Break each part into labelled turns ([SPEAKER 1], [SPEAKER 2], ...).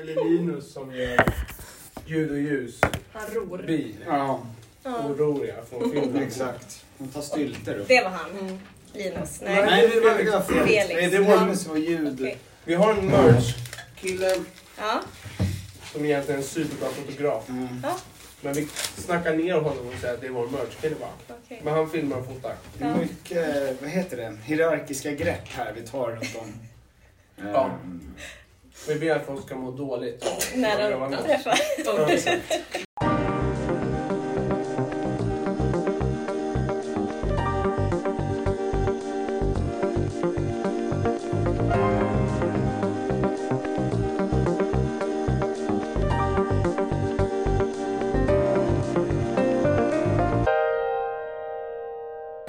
[SPEAKER 1] eller Linus som gör ljud och ljus.
[SPEAKER 2] Han ror.
[SPEAKER 1] Bi.
[SPEAKER 3] Ja,
[SPEAKER 2] Ja.
[SPEAKER 1] Oroliga från Finland.
[SPEAKER 3] exakt. De tar stylter upp.
[SPEAKER 2] Det var han. Linus. Nej.
[SPEAKER 3] Nej, det var, det var fel.
[SPEAKER 2] Felix.
[SPEAKER 3] Nej, det var Linus var ljud.
[SPEAKER 2] Okej.
[SPEAKER 1] Vi har en merch-kille
[SPEAKER 2] Ja.
[SPEAKER 1] som egentligen är en superbra fotograf.
[SPEAKER 3] Mm.
[SPEAKER 1] Men vi snackar ner honom och säger att det är vår merch-kille bara.
[SPEAKER 2] Okej.
[SPEAKER 1] Men han filmar och fotar.
[SPEAKER 3] Det är mycket, vad heter det, hierarkiska grepp här vi tar runt om.
[SPEAKER 1] Ja.
[SPEAKER 3] Ehm,
[SPEAKER 1] Vi ber att folk ska må dåligt.
[SPEAKER 2] När
[SPEAKER 1] Jag
[SPEAKER 2] de
[SPEAKER 1] var
[SPEAKER 2] träffar.
[SPEAKER 1] Ja, exakt.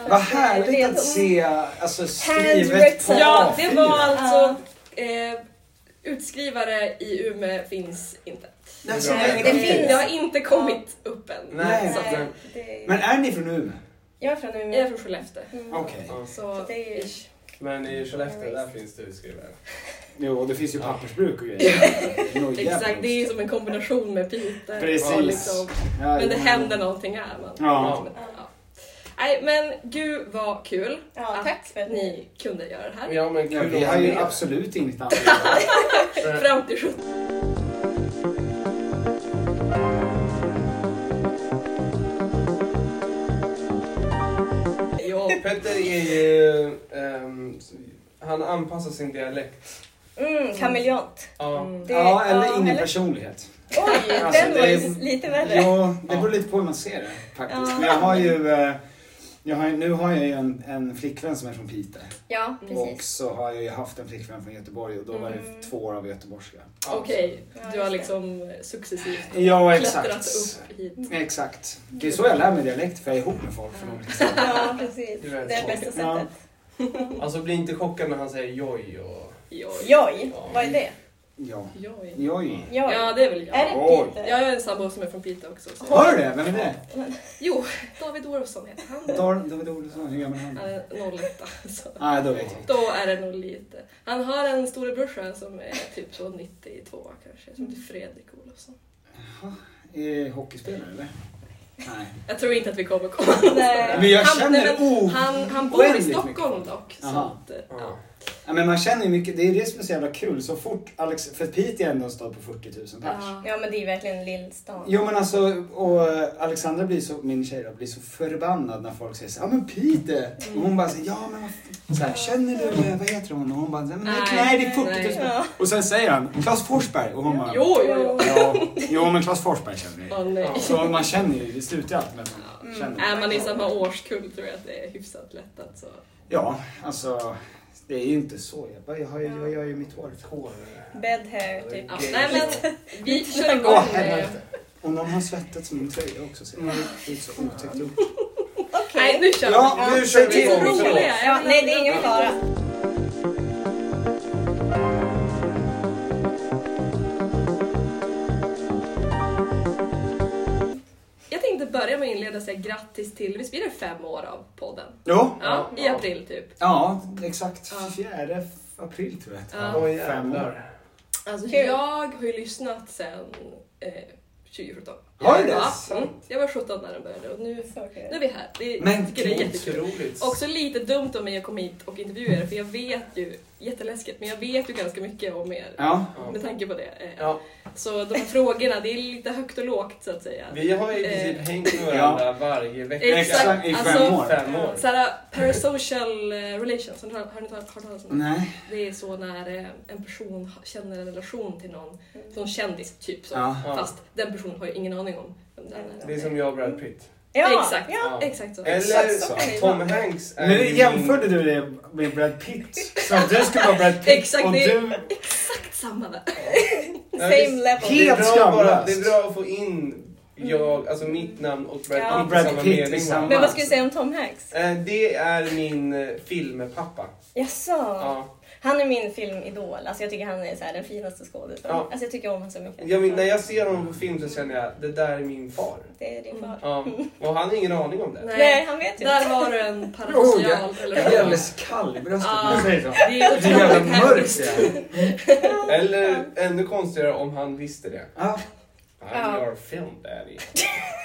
[SPEAKER 3] Vad härligt att se alltså, skrivet på
[SPEAKER 2] Handwritten.
[SPEAKER 4] Ja, det var
[SPEAKER 2] Ja.
[SPEAKER 4] alltså... Eh, utskrivare i Umeå finns inte.
[SPEAKER 3] Nej, så
[SPEAKER 1] Det
[SPEAKER 2] Det
[SPEAKER 3] det
[SPEAKER 2] finns.
[SPEAKER 4] Det har inte kommit upp än.
[SPEAKER 1] Nej.
[SPEAKER 3] Nej.
[SPEAKER 1] Nej.
[SPEAKER 2] Nej, det är...
[SPEAKER 3] Men är ni från Umeå?
[SPEAKER 2] Jag är från
[SPEAKER 4] Jag är
[SPEAKER 2] Umeå.
[SPEAKER 4] från Skellefteå.
[SPEAKER 2] Mm.
[SPEAKER 3] Okej.
[SPEAKER 1] Ja.
[SPEAKER 4] Så
[SPEAKER 2] Det är ju-
[SPEAKER 4] ish.
[SPEAKER 1] Men i Skellefteå, där finns det utskrivare.
[SPEAKER 3] Jo, och det finns ju pappersbruk och grejer. Nå, jävlar.
[SPEAKER 4] Exakt, det är ju som en kombination med Peter.
[SPEAKER 3] Precis.
[SPEAKER 4] Och liksom,
[SPEAKER 3] Ja,
[SPEAKER 4] men det
[SPEAKER 3] var-
[SPEAKER 4] händer någonting här. Man.
[SPEAKER 3] Ja.
[SPEAKER 4] Ja. Nej, men gud vad kul
[SPEAKER 2] Ja, tack för att ni...
[SPEAKER 4] ni kunde göra det här.
[SPEAKER 1] Ja, men
[SPEAKER 3] Ja,
[SPEAKER 1] kul
[SPEAKER 3] vi
[SPEAKER 1] att
[SPEAKER 3] har
[SPEAKER 1] vara
[SPEAKER 3] ju
[SPEAKER 1] med. Eh,
[SPEAKER 3] absolut inget annat.
[SPEAKER 4] Fram till 17. Ja,
[SPEAKER 1] Petter är ju... ehm, han anpassar sin dialekt.
[SPEAKER 2] Mm, kameleont. Mm.
[SPEAKER 1] Ja.
[SPEAKER 2] Det-
[SPEAKER 3] Ja,
[SPEAKER 2] ja,
[SPEAKER 3] eller ingen
[SPEAKER 2] eller-
[SPEAKER 3] personlighet.
[SPEAKER 2] Oj,
[SPEAKER 3] Alltså,
[SPEAKER 2] den
[SPEAKER 3] det
[SPEAKER 2] var
[SPEAKER 3] är-
[SPEAKER 2] ju lite värre.
[SPEAKER 3] Ja, det beror lite på hur man ser det faktiskt.
[SPEAKER 2] Ja.
[SPEAKER 3] Men jag har ju, eh, jag har, ju- nu har jag ju en, en flickvän som är från Piteå.
[SPEAKER 2] Ja,
[SPEAKER 3] Och
[SPEAKER 2] precis.
[SPEAKER 3] så har jag ju haft en flickvän från Göteborg och då var
[SPEAKER 2] Mm.
[SPEAKER 3] det två år av göteborgska.
[SPEAKER 1] Ja.
[SPEAKER 4] Okej,
[SPEAKER 2] Ja,
[SPEAKER 4] du har
[SPEAKER 2] just det.
[SPEAKER 4] liksom successivt
[SPEAKER 3] Ja,
[SPEAKER 4] klättrat
[SPEAKER 3] exakt.
[SPEAKER 4] upp hit.
[SPEAKER 3] Exakt. Det är så jag lär mig dialekt, för jag är ihop med folk från olika ställen.
[SPEAKER 2] Ja, precis.
[SPEAKER 1] Det
[SPEAKER 2] Det
[SPEAKER 1] är väldigt
[SPEAKER 2] är bästa
[SPEAKER 3] Ja.
[SPEAKER 2] sättet.
[SPEAKER 1] Alltså bli inte chockad när han säger joj och...
[SPEAKER 4] Joj.
[SPEAKER 2] Joj, vad är det?
[SPEAKER 3] Ja.
[SPEAKER 4] Joj.
[SPEAKER 3] Joj.
[SPEAKER 2] Joj.
[SPEAKER 4] Ja, det är väl
[SPEAKER 2] Är
[SPEAKER 4] jag.
[SPEAKER 2] det typ?
[SPEAKER 3] Oj.
[SPEAKER 4] Ja,
[SPEAKER 2] Peter?
[SPEAKER 4] Jag har en sambo som är från Piteå också. Så.
[SPEAKER 3] Har du det? Vem är det?
[SPEAKER 4] Jo, David Orofsson heter han.
[SPEAKER 3] Dar- David Olofsson, hur gammal är han?
[SPEAKER 4] Han är 01. Så.
[SPEAKER 3] Nej, då vet jag inte.
[SPEAKER 4] Då är det nog lite. Han har en storebrorsa som är typ så 92 kanske, som heter Fredrik Olofsson.
[SPEAKER 3] Jaha, Är det hockeyspelare eller? Nej.
[SPEAKER 4] Jag tror inte att vi kommer komma någonstans.
[SPEAKER 2] Eh, Nej.
[SPEAKER 3] Men jag
[SPEAKER 4] Han-
[SPEAKER 3] känner
[SPEAKER 4] nej, men
[SPEAKER 3] o-
[SPEAKER 4] Han, han bor i
[SPEAKER 3] Oh, oändligt
[SPEAKER 4] Stockholm
[SPEAKER 3] mycket.
[SPEAKER 4] dock. Så
[SPEAKER 3] Aha.
[SPEAKER 4] att, eh, ja.
[SPEAKER 1] Ja.
[SPEAKER 3] Ja, men man känner ju mycket, det är det som är så jävla kul. Så fort Alex, för Piteå är ändå en stad på 40 000 pers.
[SPEAKER 4] Ja.
[SPEAKER 2] Ja, men det är verkligen Lillstan.
[SPEAKER 3] Jo men alltså, och eh, Alexandra blir så, min tjej då, blir så förbannad när folk säger så här, ja men Piteå!
[SPEAKER 4] Mm.
[SPEAKER 3] Och hon bara så, här, ja men vad f-" så här, känner du, eh, vad heter hon? Och hon bara, nej,
[SPEAKER 4] Nej,
[SPEAKER 3] nej det är 40 000
[SPEAKER 4] nej.
[SPEAKER 3] pers." Och sen säger han, Claes Forsberg! Och hon bara,
[SPEAKER 4] Jo, jo, jo.
[SPEAKER 3] ja, jo men Claes Forsberg känner jag.
[SPEAKER 4] Åh, nej.
[SPEAKER 3] Så man känner ju, det slutar ju alltid med att man
[SPEAKER 2] Mm.
[SPEAKER 3] känner.
[SPEAKER 4] Är man i samma årskull tror jag att det är hyfsat lätt att så.
[SPEAKER 3] Ja, alltså, det är ju inte så. Jag, bara, jag, har, ju- jag gör ju mitt hår till hår.
[SPEAKER 2] Bed hair, typ.
[SPEAKER 4] Ja,
[SPEAKER 1] Okej.
[SPEAKER 4] nej men vi kör igång.
[SPEAKER 3] Åh
[SPEAKER 4] med-
[SPEAKER 3] helvete! Och någon har svettats i min tröja också. Ser jag. Det är så otäckt gjort.
[SPEAKER 4] Nej nu kör vi.
[SPEAKER 3] Ja, nu kör vi
[SPEAKER 4] Vi är så
[SPEAKER 3] igång.
[SPEAKER 4] roliga.
[SPEAKER 3] Förlåt.
[SPEAKER 2] Ja, nej, det är ingen fara.
[SPEAKER 4] Jag tänkte börja med att inleda och säga grattis till, visst blir det fem år av podden?
[SPEAKER 3] Ja,
[SPEAKER 4] Ja, i
[SPEAKER 1] Ja.
[SPEAKER 4] april typ.
[SPEAKER 3] ja exakt.
[SPEAKER 4] Ja.
[SPEAKER 3] Fjärde april tror jag.
[SPEAKER 4] Ja.
[SPEAKER 1] Oj jävlar.
[SPEAKER 4] Alltså,
[SPEAKER 2] Kul.
[SPEAKER 4] jag har ju lyssnat sedan eh, 2017.
[SPEAKER 3] Har du det?
[SPEAKER 4] Ja, mm. Jag var 17 när den började och nu,
[SPEAKER 2] Så kul.
[SPEAKER 4] nu är vi här. Det,
[SPEAKER 3] Men
[SPEAKER 4] jag tycker det är jättekul.
[SPEAKER 1] Otroligt.
[SPEAKER 4] Också lite dumt om mig att komma hit och intervjua er för jag vet ju, jätteläskigt, men jag vet ju ganska mycket om er.
[SPEAKER 3] Ja.
[SPEAKER 1] Ja.
[SPEAKER 4] Med tanke på det. eh,
[SPEAKER 1] Ja,
[SPEAKER 4] Så de här frågorna, det är lite högt och lågt så att säga.
[SPEAKER 1] vi har i princip
[SPEAKER 4] Eh.
[SPEAKER 1] hängt med varandra varje vecka.
[SPEAKER 4] Exakt.
[SPEAKER 3] I fem
[SPEAKER 4] Alltså-
[SPEAKER 3] år.
[SPEAKER 1] Fem år.
[SPEAKER 4] Såhär parasocial eh, relations, har ni hört har ni hört talas om det?
[SPEAKER 3] Nej.
[SPEAKER 4] Det är så när eh, en person ha- känner en relation till någon, som kändis typ så.
[SPEAKER 3] Ja.
[SPEAKER 1] Ja.
[SPEAKER 4] Fast den personen har ju ingen aning om vem den är.
[SPEAKER 1] Det är som jag och Brad Pitt.
[SPEAKER 2] Ja,
[SPEAKER 4] Exakt.
[SPEAKER 2] Ja.
[SPEAKER 1] Ja.
[SPEAKER 4] Exakt så.
[SPEAKER 1] Eller
[SPEAKER 3] Exakt så.
[SPEAKER 1] Tom Hanks är ju
[SPEAKER 3] Äh, Nu
[SPEAKER 1] min-
[SPEAKER 3] jämförde du det med Brad Pitt. Så att du skulle vara Brad Pitt
[SPEAKER 4] Exakt,
[SPEAKER 3] och
[SPEAKER 4] det är-
[SPEAKER 3] du...
[SPEAKER 4] Exakt samma där.
[SPEAKER 1] Nej,
[SPEAKER 2] Same
[SPEAKER 1] det-
[SPEAKER 2] level.
[SPEAKER 1] Det är,
[SPEAKER 3] Helt
[SPEAKER 1] bra bara,
[SPEAKER 3] skamlöst.
[SPEAKER 1] det är bra att få in jag, alltså mitt namn och Brad
[SPEAKER 2] Ja.
[SPEAKER 1] Pitt i
[SPEAKER 3] Brad
[SPEAKER 1] samma
[SPEAKER 3] Pitt i
[SPEAKER 1] mening.
[SPEAKER 3] samma-
[SPEAKER 2] Men vad ska du säga om Tom Hanks?
[SPEAKER 1] Eh, Det är min eh, filmpappa.
[SPEAKER 2] Jaså?
[SPEAKER 1] Ja.
[SPEAKER 2] Han är min filmidol. Alltså jag tycker han är så här, den finaste skådespelaren.
[SPEAKER 1] Ja.
[SPEAKER 2] Alltså jag tycker om honom så mycket.
[SPEAKER 1] Jag, men- när jag ser honom på film så känner jag det där är min far.
[SPEAKER 2] Det är din far.
[SPEAKER 1] Ja, och han har ingen aning om det.
[SPEAKER 2] Nej. han vet inte.
[SPEAKER 4] Där var du en parafrasial.
[SPEAKER 3] Oh,
[SPEAKER 4] eller
[SPEAKER 3] Jag
[SPEAKER 4] vad?
[SPEAKER 3] är alldeles kall i bröstet när jag säger så.
[SPEAKER 4] Det är
[SPEAKER 3] Det är jävla
[SPEAKER 4] otroligt
[SPEAKER 3] mörkt
[SPEAKER 4] hemskt.
[SPEAKER 3] det
[SPEAKER 1] Eller ännu konstigare om han visste det.
[SPEAKER 3] ja.
[SPEAKER 1] I'm
[SPEAKER 2] Ja.
[SPEAKER 1] your film daddy.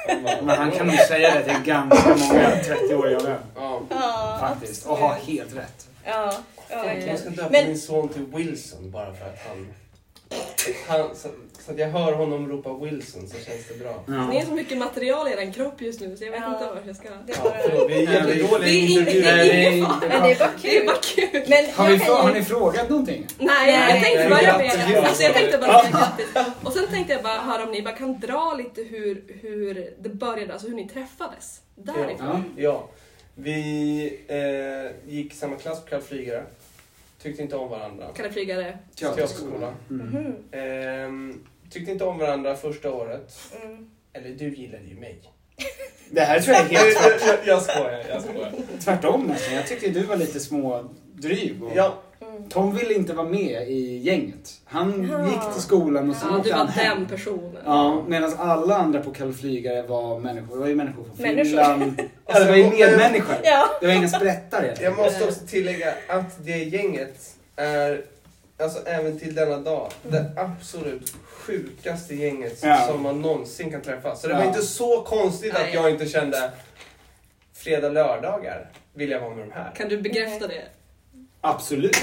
[SPEAKER 3] Men han kan nog säga det till ganska många 30-åriga män.
[SPEAKER 1] Ja.
[SPEAKER 2] Ja,
[SPEAKER 3] Faktiskt. Och
[SPEAKER 2] absolut.
[SPEAKER 3] ha helt rätt.
[SPEAKER 2] Ja, ja, verkligen.
[SPEAKER 1] Jag ska döpa
[SPEAKER 2] Men-
[SPEAKER 1] min son till Wilson bara för att han... han så, så att jag hör honom ropa Wilson så känns det bra.
[SPEAKER 4] Det är så mycket material i den kropp just nu så jag vet
[SPEAKER 2] Ja.
[SPEAKER 4] inte vart jag ska.
[SPEAKER 2] Det
[SPEAKER 1] Ja,
[SPEAKER 2] var...
[SPEAKER 1] förlåt, vi är
[SPEAKER 3] Nej, vi-
[SPEAKER 1] jättedåliga
[SPEAKER 4] vi är inte-
[SPEAKER 1] intervjuer.
[SPEAKER 4] Nej, det
[SPEAKER 2] Men
[SPEAKER 4] är
[SPEAKER 2] det är bara
[SPEAKER 4] Det är
[SPEAKER 2] kul.
[SPEAKER 4] bara kul.
[SPEAKER 2] Men
[SPEAKER 3] Har,
[SPEAKER 2] jag
[SPEAKER 3] vi,
[SPEAKER 2] kan
[SPEAKER 3] fra- har
[SPEAKER 2] ju-
[SPEAKER 3] ni frågat någonting?
[SPEAKER 4] Nej,
[SPEAKER 2] Nej.
[SPEAKER 4] jag tänkte bara
[SPEAKER 1] Nej,
[SPEAKER 4] göra
[SPEAKER 1] grattis.
[SPEAKER 4] det. Alltså jag tänkte bara säga grattis. Och sen tänkte jag bara höra om ni bara kan dra lite hur, hur det började, alltså hur ni träffades. Därifrån.
[SPEAKER 3] Ja.
[SPEAKER 1] Ja, vi eh, gick samma klass på Karl Flygare. Tyckte inte om varandra.
[SPEAKER 4] Kalle Flygare.
[SPEAKER 1] Teaterskola.
[SPEAKER 3] Mm.
[SPEAKER 2] Mhm.
[SPEAKER 1] Ehm, tyckte inte om varandra första året.
[SPEAKER 2] Mm.
[SPEAKER 1] Eller du gillade ju mig.
[SPEAKER 3] Det här tror jag är helt
[SPEAKER 1] jag, jag, jag skojar, jag skojar.
[SPEAKER 3] tvärtom nästan. Jag tyckte du var lite smådryg. Och...
[SPEAKER 1] Ja,
[SPEAKER 2] Mm.
[SPEAKER 3] Tom ville inte vara med i gänget. Han
[SPEAKER 2] Ja.
[SPEAKER 3] gick till skolan och så
[SPEAKER 4] Ja,
[SPEAKER 3] åkte
[SPEAKER 4] du
[SPEAKER 3] han
[SPEAKER 4] var
[SPEAKER 3] hem.
[SPEAKER 4] den personen.
[SPEAKER 3] Ja, medan alla andra på Kalle Flygare var människor. Det var ju människor från
[SPEAKER 2] Människor.
[SPEAKER 3] Finland. Ja, det var ju medmänniskor.
[SPEAKER 2] Ja.
[SPEAKER 3] Det var inga sprättare.
[SPEAKER 1] Alltså, jag måste också tillägga att det gänget är, alltså även till denna dag, det absolut sjukaste gänget
[SPEAKER 3] Ja.
[SPEAKER 1] som man någonsin kan träffa. Så det var
[SPEAKER 3] Ja.
[SPEAKER 1] inte så konstigt att
[SPEAKER 4] Nej.
[SPEAKER 1] jag inte kände fredag, lördagar vill jag vara med de här.
[SPEAKER 4] Kan du bekräfta det?
[SPEAKER 3] Absolut.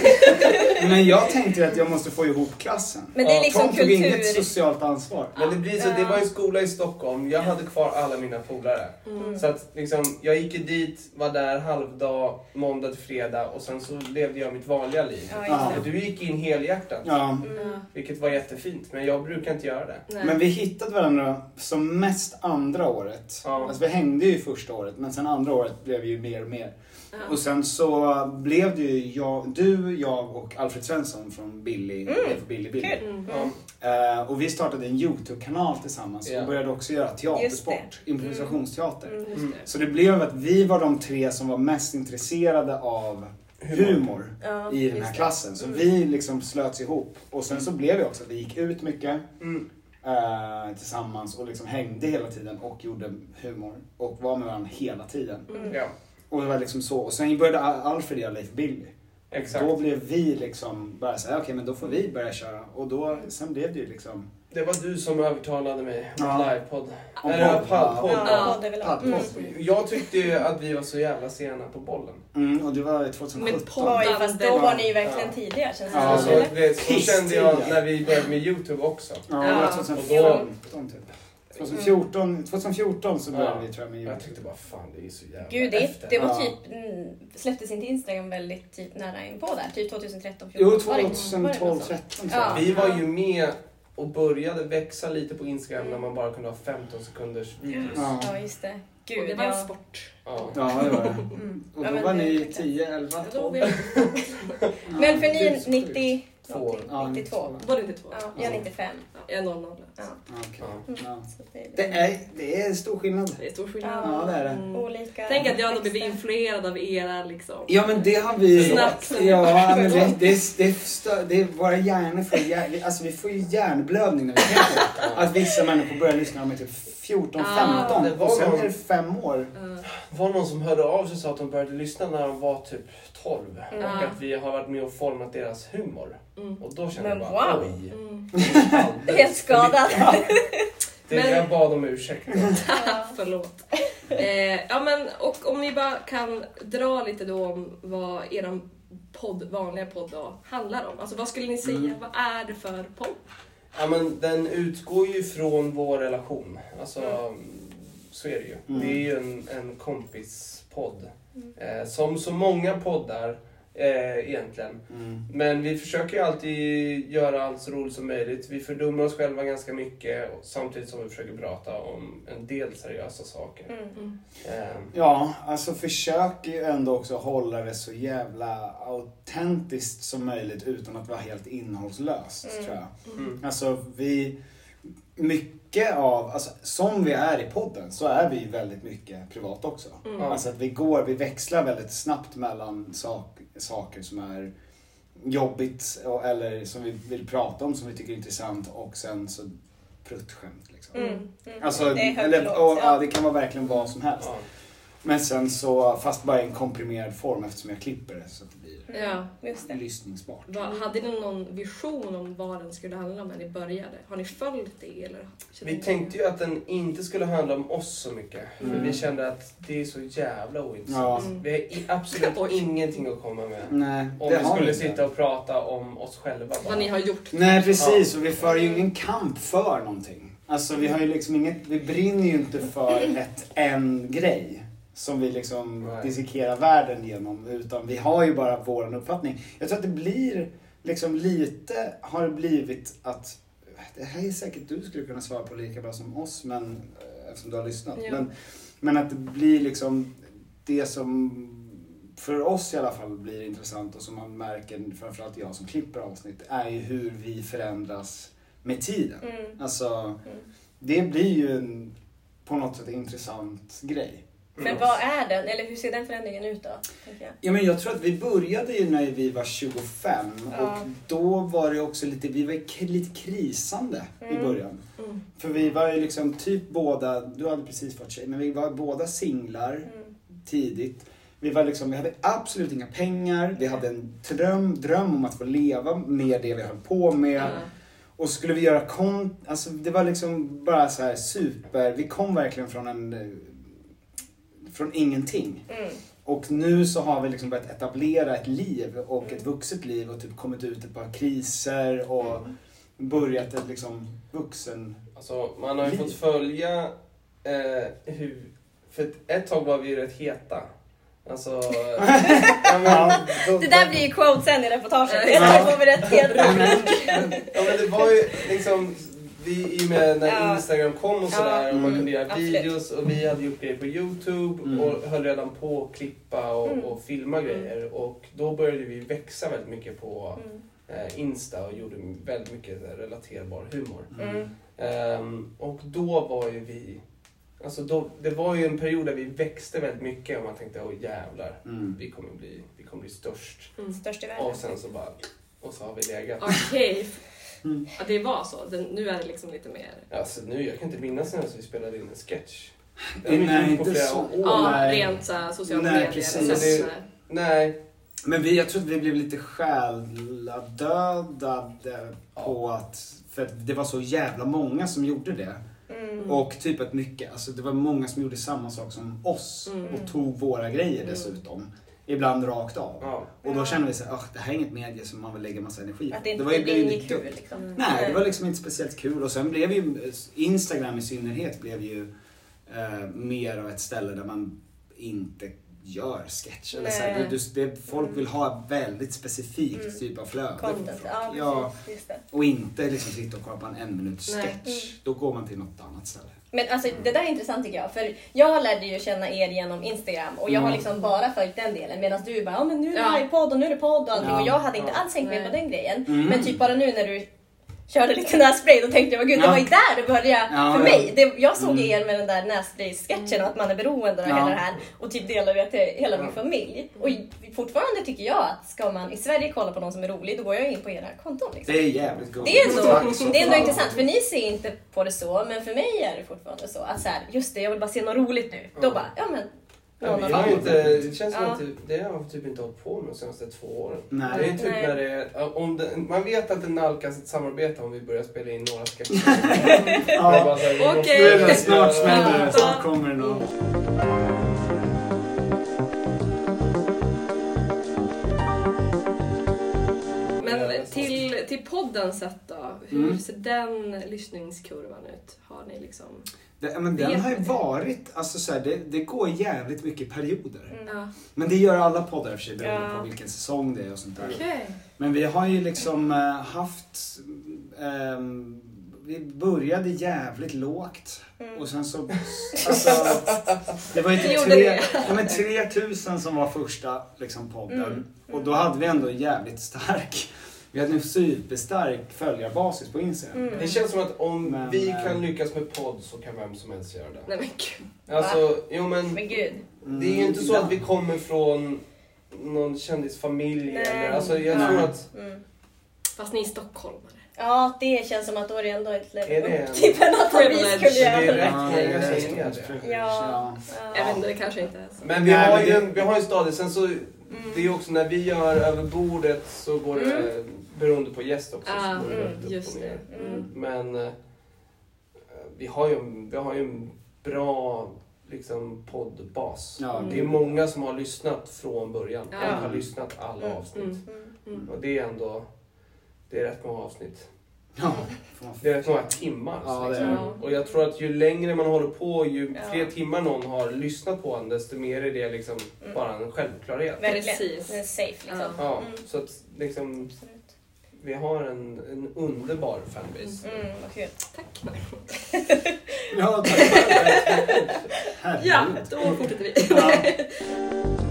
[SPEAKER 3] Men jag tänkte att jag måste få ihop klassen.
[SPEAKER 2] Men det är
[SPEAKER 1] Ja,
[SPEAKER 2] liksom
[SPEAKER 3] Tom tog inget
[SPEAKER 2] kultur.
[SPEAKER 3] socialt ansvar.
[SPEAKER 1] Men det blir så, det var en skola i Stockholm, jag hade kvar alla mina polare.
[SPEAKER 2] Mm.
[SPEAKER 1] Så att liksom, jag gick ju dit, var där halvdag, måndag till fredag och sen så levde jag mitt vanliga liv.
[SPEAKER 2] Ja,
[SPEAKER 3] Ja.
[SPEAKER 2] just
[SPEAKER 1] Och
[SPEAKER 2] det.
[SPEAKER 1] du gick in helhjärtat,
[SPEAKER 3] Ja.
[SPEAKER 2] Mm.
[SPEAKER 1] vilket var jättefint, men jag brukar inte göra det.
[SPEAKER 4] Nej.
[SPEAKER 3] Men vi hittade varandra som mest andra året.
[SPEAKER 1] Ja.
[SPEAKER 3] Alltså vi hängde ju första året men sen andra året blev vi ju mer och mer.
[SPEAKER 4] Ja.
[SPEAKER 3] Och sen så blev det ju jag, du, jag och Alfred Svensson från Billy, mm. Billy Billy.
[SPEAKER 2] Kul.
[SPEAKER 4] Mm.
[SPEAKER 1] Ja.
[SPEAKER 3] Eh, och vi startade en YouTube-kanal tillsammans
[SPEAKER 1] Ja.
[SPEAKER 3] och började också göra teatersport,
[SPEAKER 2] Just
[SPEAKER 3] improvisationsteater.
[SPEAKER 4] Mm,
[SPEAKER 1] Mm.
[SPEAKER 4] just det.
[SPEAKER 3] Så det blev att vi var de tre som var mest intresserade av humor,
[SPEAKER 2] Ja,
[SPEAKER 3] i den
[SPEAKER 2] just
[SPEAKER 3] här
[SPEAKER 2] det.
[SPEAKER 3] klassen. Så
[SPEAKER 2] Mm.
[SPEAKER 3] vi liksom slöts ihop. Och sen så blev det också att vi gick ut mycket
[SPEAKER 1] Mm.
[SPEAKER 3] eh, tillsammans och liksom hängde hela tiden och gjorde humor. Och var med varandra hela tiden.
[SPEAKER 4] Mm.
[SPEAKER 1] Ja,
[SPEAKER 3] Och det var liksom så. Och sen började Al- Alfred göra Leif Billy.
[SPEAKER 1] exakt.
[SPEAKER 3] Då blev vi liksom bara såhär, okej men då får vi börja köra. Och då, sen blev det ju liksom
[SPEAKER 1] Det var du som övertalade mig om
[SPEAKER 3] Ja.
[SPEAKER 1] livepodd.
[SPEAKER 3] Om
[SPEAKER 1] Eller
[SPEAKER 3] podd,
[SPEAKER 1] podd.
[SPEAKER 2] Ja, podd överlag.
[SPEAKER 3] paddpodd.
[SPEAKER 2] Mm.
[SPEAKER 1] Jag tyckte ju att vi var så jävla sena på bollen.
[SPEAKER 3] Mm, och det var 2017.
[SPEAKER 4] Med podd.
[SPEAKER 2] Oj, fast då var ni verkligen tidiga känns det
[SPEAKER 3] Ja,
[SPEAKER 1] Och
[SPEAKER 2] som.
[SPEAKER 1] så,
[SPEAKER 2] eller?
[SPEAKER 1] det, Alltså, så kände jag
[SPEAKER 3] Pisstidiga.
[SPEAKER 1] när vi började med Youtube också.
[SPEAKER 3] Ja, det var
[SPEAKER 4] Ja.
[SPEAKER 3] 2015 typ. 2014, 2014 så började
[SPEAKER 1] Ja.
[SPEAKER 3] vi tror jag med
[SPEAKER 1] Jag
[SPEAKER 3] YouTube.
[SPEAKER 1] tyckte bara fan det är så jävla
[SPEAKER 2] Gud, det,
[SPEAKER 1] efter.
[SPEAKER 2] det var
[SPEAKER 3] Ja.
[SPEAKER 2] typ, mm, släpptes inte Instagram väldigt typ nära inpå där? Typ 2013, 14?
[SPEAKER 3] Jo,
[SPEAKER 2] Var det- var det
[SPEAKER 3] 2012,
[SPEAKER 2] något sånt?
[SPEAKER 3] 13
[SPEAKER 2] Ja.
[SPEAKER 1] Vi var ju med och började växa lite på Instagram när man bara kunde ha 15 sekunders videos.
[SPEAKER 3] Ja.
[SPEAKER 2] Ja, just det.
[SPEAKER 4] Och
[SPEAKER 2] Gud,
[SPEAKER 4] det var en
[SPEAKER 2] ja.
[SPEAKER 4] sport.
[SPEAKER 1] Ja.
[SPEAKER 3] Ja, det var det.
[SPEAKER 2] Mm.
[SPEAKER 3] Och
[SPEAKER 2] Ja,
[SPEAKER 3] då
[SPEAKER 2] men
[SPEAKER 3] var
[SPEAKER 2] det-
[SPEAKER 3] ni 10, 11,
[SPEAKER 4] Då var
[SPEAKER 3] 12.
[SPEAKER 4] vi...
[SPEAKER 2] Men för ni
[SPEAKER 3] Gud,
[SPEAKER 2] är
[SPEAKER 3] så sjukt.
[SPEAKER 2] 90...
[SPEAKER 1] Två.
[SPEAKER 2] någonting,
[SPEAKER 3] Ja,
[SPEAKER 2] 92.
[SPEAKER 4] Var det 92?
[SPEAKER 2] Ja, jag är 95.
[SPEAKER 4] Ja, jag är 00.
[SPEAKER 2] Ja.
[SPEAKER 3] Ja, okej.
[SPEAKER 1] Ja.
[SPEAKER 2] Mm.
[SPEAKER 3] Ja.
[SPEAKER 2] Så det är
[SPEAKER 3] Det
[SPEAKER 2] liksom
[SPEAKER 3] är, det är stor skillnad.
[SPEAKER 4] Det är stor skillnad.
[SPEAKER 3] Ja, det är det.
[SPEAKER 4] Mm.
[SPEAKER 2] olika
[SPEAKER 4] Tänk att jag ändå blivit
[SPEAKER 2] texter.
[SPEAKER 4] influerad av era liksom.
[SPEAKER 3] Ja men det har vi...
[SPEAKER 4] Snack.
[SPEAKER 3] Ja men det, det, det, förstör, det är våra hjärnor får hjär, alltså vi får ju hjärnblödning när vi tänker på det. Att vissa människor börjar lyssna när de är typ 14,
[SPEAKER 4] Ah.
[SPEAKER 3] 15
[SPEAKER 1] Det var
[SPEAKER 3] och sen
[SPEAKER 1] någon-
[SPEAKER 3] är det fem år.
[SPEAKER 4] Ja.
[SPEAKER 1] Det var någon som hörde av sig och sa att de började lyssna när de var typ 12
[SPEAKER 2] Mm.
[SPEAKER 1] och att vi har varit med och format deras humor.
[SPEAKER 4] Mm.
[SPEAKER 1] Och då kände jag
[SPEAKER 2] Men
[SPEAKER 1] bara
[SPEAKER 2] wow.
[SPEAKER 1] oj.
[SPEAKER 4] Mm.
[SPEAKER 1] alldeles
[SPEAKER 2] Helt skadad.
[SPEAKER 1] för mycket. Det,
[SPEAKER 4] Men-
[SPEAKER 1] Jag bad om ursäkt.
[SPEAKER 2] Ja.
[SPEAKER 4] Förlåt. Eh, ja, men, och om ni bara kan dra lite då om vad er podd, vanliga podd då, handlar om. Alltså vad skulle ni säga,
[SPEAKER 3] Mm.
[SPEAKER 4] vad är det för podd?
[SPEAKER 1] Ja, men den utgår ju från vår relation. Alltså,
[SPEAKER 2] Mm.
[SPEAKER 1] Så är det ju.
[SPEAKER 3] Mm.
[SPEAKER 1] Det är ju en, en kompispodd.
[SPEAKER 2] Mm.
[SPEAKER 1] Eh, som så många poddar eh, egentligen.
[SPEAKER 3] Mm.
[SPEAKER 1] Men vi försöker ju alltid göra allt så roligt som möjligt. Vi fördummar oss själva ganska mycket och- samtidigt som vi försöker prata om en del seriösa saker.
[SPEAKER 2] Mm.
[SPEAKER 1] Eh,
[SPEAKER 3] Ja, alltså försök ju ändå också hålla det så jävla autentiskt som möjligt utan att vara helt innehållslöst
[SPEAKER 2] Mm.
[SPEAKER 3] tror jag.
[SPEAKER 1] mm.
[SPEAKER 3] Alltså vi, mycket av, alltså, som vi är i podden så är vi ju väldigt mycket privat också.
[SPEAKER 4] Mm.
[SPEAKER 1] Ja.
[SPEAKER 3] Alltså att vi går, vi växlar väldigt snabbt mellan sak, saker som är jobbigt och- eller som vi vill prata om som vi tycker är intressant och sen så pruttskämt liksom.
[SPEAKER 2] Mm. Mm.
[SPEAKER 3] Alltså,
[SPEAKER 2] det är högt
[SPEAKER 3] eller,
[SPEAKER 2] och
[SPEAKER 3] och,
[SPEAKER 2] lågt.
[SPEAKER 3] ja, det kan vara verkligen vad som helst.
[SPEAKER 1] Ja.
[SPEAKER 3] Men sen så, fast bara i en komprimerad form eftersom jag klipper det så att det blir
[SPEAKER 4] Ja.
[SPEAKER 2] Mm, Just det.
[SPEAKER 3] lyssningsbart.
[SPEAKER 4] Vad- hade ni någon vision om vad den skulle handla om när ni började? Har ni följt det? Eller?
[SPEAKER 1] Vi tänkte ju att den inte skulle handla om oss så mycket. För
[SPEAKER 3] Mm.
[SPEAKER 1] vi kände att det är så jävla ointressant.
[SPEAKER 3] Ja.
[SPEAKER 4] Mm.
[SPEAKER 1] Vi har i- absolut
[SPEAKER 4] Oj.
[SPEAKER 1] ingenting att komma med.
[SPEAKER 3] Nej,
[SPEAKER 1] Om
[SPEAKER 3] det
[SPEAKER 1] vi
[SPEAKER 3] har
[SPEAKER 1] skulle
[SPEAKER 3] vi
[SPEAKER 1] sitta och prata om oss själva bara.
[SPEAKER 4] Vad ni har gjort.
[SPEAKER 3] Nej precis, och vi för ju ingen kamp för någonting. Alltså vi har ju liksom inget, vi brinner ju inte för ett en grej som vi liksom
[SPEAKER 1] Nej.
[SPEAKER 3] dissekerar världen genom utan vi har ju bara våran uppfattning. Jag tror att det blir liksom lite, har det blivit att, det här är säkert du skulle kunna svara på lika bra som oss men eh, eftersom du har lyssnat.
[SPEAKER 4] Ja.
[SPEAKER 3] Men, men att det blir liksom det som för oss i alla fall blir intressant och som man märker, framförallt jag som klipper avsnitt, är ju hur vi förändras med tiden.
[SPEAKER 2] Mm.
[SPEAKER 3] Alltså,
[SPEAKER 2] Mm.
[SPEAKER 3] det blir ju en, på något sätt en intressant grej.
[SPEAKER 1] Mm.
[SPEAKER 2] Men vad är den? Eller hur ser den förändringen ut då? Tänker jag.
[SPEAKER 3] Ja, men jag tror att vi började ju när vi var 25
[SPEAKER 2] Ja.
[SPEAKER 3] och då var det också lite, vi var k- lite krisande i
[SPEAKER 2] Mm.
[SPEAKER 3] början.
[SPEAKER 4] Mm.
[SPEAKER 3] För vi var ju liksom typ båda, du hade precis varit tjej, men vi var båda singlar.
[SPEAKER 2] Mm.
[SPEAKER 3] tidigt. Vi, var liksom, vi hade absolut inga pengar, vi hade en dröm, dröm om att få leva med det vi höll på med.
[SPEAKER 4] Ja.
[SPEAKER 3] Och skulle vi göra kon... Alltså det var liksom bara så här super... Vi kom verkligen från en... eh, Från ingenting.
[SPEAKER 2] Mm.
[SPEAKER 3] Och nu så har vi liksom börjat etablera ett liv och ett vuxet liv och typ kommit ut ett par kriser och börjat ett liksom vuxen...
[SPEAKER 1] Alltså, man har ju fått följa eh, hur... För ett- ett tag var vi ju rätt heta. Alltså... ja, men, då-
[SPEAKER 2] Det där blir ju quote sen i reportaget. Det
[SPEAKER 3] Ja.
[SPEAKER 2] där får vi rätt helt
[SPEAKER 1] Ja men det var ju liksom, vi, i och med när
[SPEAKER 2] Ja.
[SPEAKER 1] Instagram kom och sådär
[SPEAKER 2] Ja,
[SPEAKER 1] och man
[SPEAKER 3] mm,
[SPEAKER 1] kunde göra
[SPEAKER 2] absolut.
[SPEAKER 1] videos och vi hade gjort grejer på Youtube
[SPEAKER 3] Mm.
[SPEAKER 1] och höll redan på att klippa och,
[SPEAKER 2] Mm.
[SPEAKER 1] och filma grejer och då började vi växa väldigt mycket på
[SPEAKER 2] Mm.
[SPEAKER 1] eh, Insta och gjorde väldigt mycket eh, relaterbar humor.
[SPEAKER 2] Mm.
[SPEAKER 1] Ehm, och då var ju vi, alltså då, det var ju en period där vi växte väldigt mycket och man tänkte åh jävlar,
[SPEAKER 3] Mm.
[SPEAKER 1] vi kommer bli, vi kommer bli störst.
[SPEAKER 4] Mm.
[SPEAKER 2] Störst i världen.
[SPEAKER 1] Och sen så bara, och så har vi legat.
[SPEAKER 4] Okej.
[SPEAKER 3] Mm.
[SPEAKER 4] Ja, det var så. Den, nu är det liksom lite mer...
[SPEAKER 1] Alltså nu, jag kan inte minnas när vi spelade in en sketch. Det har vi
[SPEAKER 3] Nej,
[SPEAKER 1] gjort på
[SPEAKER 3] inte
[SPEAKER 1] flera
[SPEAKER 3] så.
[SPEAKER 1] år.
[SPEAKER 4] Ja,
[SPEAKER 3] Nej.
[SPEAKER 4] rent så här, sociala
[SPEAKER 3] Nej,
[SPEAKER 4] medier.
[SPEAKER 3] precis.
[SPEAKER 4] eller
[SPEAKER 1] Det-
[SPEAKER 4] sådär.
[SPEAKER 1] Nej.
[SPEAKER 3] Men vi, jag tror att vi blev lite själadödade på att, för att det var så jävla många som gjorde det.
[SPEAKER 2] Mm.
[SPEAKER 3] Och typ att mycket, alltså det var många som gjorde samma sak som oss
[SPEAKER 4] Mm.
[SPEAKER 3] och tog våra grejer
[SPEAKER 4] Mm.
[SPEAKER 3] dessutom. Ibland rakt av.
[SPEAKER 1] Ja.
[SPEAKER 3] Och då kände vi så här, "Ugh, det här är inget medie som man vill lägga massa energi på.
[SPEAKER 2] Att det inte
[SPEAKER 3] var ju-
[SPEAKER 2] det
[SPEAKER 3] blev
[SPEAKER 2] blir
[SPEAKER 3] ju
[SPEAKER 2] inget
[SPEAKER 3] lite
[SPEAKER 2] kul
[SPEAKER 3] dumt.
[SPEAKER 2] liksom.
[SPEAKER 3] Nej, det var liksom inte speciellt kul. Och sen blev ju Instagram i synnerhet blev ju eh, mer av ett ställe där man inte gör sketch. Eller så här,
[SPEAKER 4] Nej.
[SPEAKER 3] du, du, det, folk vill ha väldigt specifikt
[SPEAKER 2] Mm.
[SPEAKER 3] typ av flöde. från
[SPEAKER 2] Content.
[SPEAKER 3] folk.
[SPEAKER 2] Ja,
[SPEAKER 3] ja,
[SPEAKER 2] precis. Just det.
[SPEAKER 3] och inte liksom sitta och kolla på en en minut
[SPEAKER 4] Nej.
[SPEAKER 3] sketch.
[SPEAKER 2] Mm.
[SPEAKER 3] Då går man till något annat ställe.
[SPEAKER 2] Men alltså, det där är intressant tycker jag. För jag lärde ju känna er genom Instagram och jag har
[SPEAKER 3] Mm.
[SPEAKER 2] liksom bara följt den delen. Medan du bara, ja men nu är det
[SPEAKER 4] Ja.
[SPEAKER 2] livepodd och nu är det podd och allting.
[SPEAKER 3] Ja.
[SPEAKER 2] Och jag hade inte
[SPEAKER 1] Ja.
[SPEAKER 2] alls hängt med
[SPEAKER 4] Nej.
[SPEAKER 2] på den grejen.
[SPEAKER 3] Mm.
[SPEAKER 2] Men typ bara nu när du körde lite nässpray, då tänkte jag, "Vad gud, det
[SPEAKER 3] Ja.
[SPEAKER 2] var ju där det började
[SPEAKER 3] Ja,
[SPEAKER 2] för
[SPEAKER 3] ja.
[SPEAKER 2] mig. Det, jag såg
[SPEAKER 3] Mm.
[SPEAKER 2] er med den där nässpray-sketchen och att man är beroende av
[SPEAKER 3] Ja.
[SPEAKER 2] hela det här och typ delar det till hela min
[SPEAKER 1] Ja.
[SPEAKER 2] familj. Och fortfarande tycker jag att ska man i Sverige kolla på någon som är rolig, då går jag in på era konton. Liksom.
[SPEAKER 3] Det är jävligt gott.
[SPEAKER 2] Det är
[SPEAKER 3] Tack
[SPEAKER 2] ändå,
[SPEAKER 3] så
[SPEAKER 2] det är ändå
[SPEAKER 3] fan.
[SPEAKER 2] intressant, för ni ser inte på det så, men för mig är det fortfarande så att så här, just det, jag vill bara se något roligt nu. Då
[SPEAKER 1] Ja.
[SPEAKER 2] bara, ja men,
[SPEAKER 1] Ja,
[SPEAKER 2] någon
[SPEAKER 1] vi
[SPEAKER 2] av
[SPEAKER 1] har
[SPEAKER 2] dem.
[SPEAKER 1] inte, det känns som
[SPEAKER 2] Ja.
[SPEAKER 1] att typ- det har vi typ inte hållit på med de senaste två åren.
[SPEAKER 3] Nej.
[SPEAKER 1] Det är typ
[SPEAKER 2] Nej.
[SPEAKER 1] när det, är- om det, man vet att det nalkas ett samarbete om vi börjar spela in några sketcher. Det är
[SPEAKER 3] Ja.
[SPEAKER 1] bara så här, vi måste-
[SPEAKER 4] Okej.
[SPEAKER 3] Nu är det snart smäller det.
[SPEAKER 4] Ja.
[SPEAKER 3] Snart kommer det någon.
[SPEAKER 4] Men till, till podden sett då, hur
[SPEAKER 3] Mm.
[SPEAKER 4] ser den lyssningskurvan ut? Har ni liksom...
[SPEAKER 3] Det, ja, men
[SPEAKER 4] Vet
[SPEAKER 3] den har ju
[SPEAKER 4] inte.
[SPEAKER 3] varit, alltså så här, det, det går jävligt mycket i perioder.
[SPEAKER 2] Mm.
[SPEAKER 4] Ja.
[SPEAKER 3] Men det gör alla poddar i och för sig beroende
[SPEAKER 2] Ja.
[SPEAKER 3] på vilken säsong det är och sånt där.
[SPEAKER 4] Okej.
[SPEAKER 3] Men vi har ju liksom eh, haft, ehm, vi började jävligt lågt
[SPEAKER 2] Mm.
[SPEAKER 3] och sen så, alltså, det var ju
[SPEAKER 4] Vi
[SPEAKER 3] typ
[SPEAKER 4] gjorde
[SPEAKER 3] tre,
[SPEAKER 4] det.
[SPEAKER 3] ja, men 3000 som var första liksom, podden
[SPEAKER 2] Mm.
[SPEAKER 3] och då hade vi ändå jävligt stark, vi hade en superstark följarbasis på Instagram.
[SPEAKER 1] Det
[SPEAKER 2] Mm.
[SPEAKER 1] känns som att om
[SPEAKER 3] Men,
[SPEAKER 1] vi
[SPEAKER 3] eh,
[SPEAKER 1] kan lyckas med podd så kan vem som helst göra det.
[SPEAKER 4] Nej men gud.
[SPEAKER 1] Alltså, jo men
[SPEAKER 2] Men gud.
[SPEAKER 3] Mm,
[SPEAKER 1] det är ju inte så
[SPEAKER 3] ibland.
[SPEAKER 1] att vi kommer från någon kändisfamilj
[SPEAKER 4] Nej.
[SPEAKER 1] eller... Alltså jag tror
[SPEAKER 3] Nej.
[SPEAKER 1] att...
[SPEAKER 2] Mm.
[SPEAKER 4] Fast ni är stockholmare.
[SPEAKER 2] Ja, det känns som att då är det ändå ett
[SPEAKER 1] Är det
[SPEAKER 2] level
[SPEAKER 1] en-
[SPEAKER 2] upp till penalty vi
[SPEAKER 4] Privilege?
[SPEAKER 2] skulle
[SPEAKER 1] Det är
[SPEAKER 2] göra.
[SPEAKER 1] rätt
[SPEAKER 3] Ja,
[SPEAKER 1] många
[SPEAKER 3] det är
[SPEAKER 1] som är
[SPEAKER 3] stort
[SPEAKER 1] det.
[SPEAKER 3] privilege,
[SPEAKER 2] Ja.
[SPEAKER 4] Jag vet
[SPEAKER 2] Ja.
[SPEAKER 4] inte, det kanske inte är så.
[SPEAKER 1] Men vi,
[SPEAKER 3] Nej,
[SPEAKER 1] har,
[SPEAKER 3] men
[SPEAKER 1] ju
[SPEAKER 3] det-
[SPEAKER 1] en, vi har ju en stadig, sen så
[SPEAKER 4] Mm.
[SPEAKER 2] Mm.
[SPEAKER 1] det är ju också när vi gör över bordet så går det beroende på gäst också. så
[SPEAKER 4] Mm. Ah,
[SPEAKER 1] går det
[SPEAKER 2] mm,
[SPEAKER 1] rätt upp och
[SPEAKER 4] Just det.
[SPEAKER 1] ner.
[SPEAKER 4] Mm.
[SPEAKER 1] Men eh, vi har ju, en- vi har ju en bra liksom, poddbas.
[SPEAKER 3] Ja,
[SPEAKER 1] Det är många som har lyssnat från början.
[SPEAKER 4] Ja.
[SPEAKER 1] Alla har lyssnat alla
[SPEAKER 2] Mm,
[SPEAKER 1] avsnitt.
[SPEAKER 4] mm.
[SPEAKER 2] Mm.
[SPEAKER 4] Mm.
[SPEAKER 1] Och det är ändå det är rätt många avsnitt.
[SPEAKER 3] Ja, får man-
[SPEAKER 1] Det är rätt många timmar.
[SPEAKER 3] Ja, det
[SPEAKER 1] liksom.
[SPEAKER 3] är det.
[SPEAKER 4] Ja.
[SPEAKER 1] Och jag tror att ju längre man håller på, ju
[SPEAKER 4] Ja.
[SPEAKER 1] fler timmar någon har lyssnat på en, desto mer är det liksom
[SPEAKER 2] Mm.
[SPEAKER 1] bara en självklarhet.
[SPEAKER 2] Verkligen.
[SPEAKER 4] Precis.
[SPEAKER 2] Det är safe liksom.
[SPEAKER 4] Ja.
[SPEAKER 1] Ja,
[SPEAKER 2] Mm.
[SPEAKER 1] så att liksom,
[SPEAKER 2] Absolut.
[SPEAKER 1] vi har en, en underbar fanbase.
[SPEAKER 2] Mm, vad kul.
[SPEAKER 4] Tack.
[SPEAKER 3] Ja, tack.
[SPEAKER 4] Ja,
[SPEAKER 3] Herregud.
[SPEAKER 4] då fortsätter vi.
[SPEAKER 3] Ja.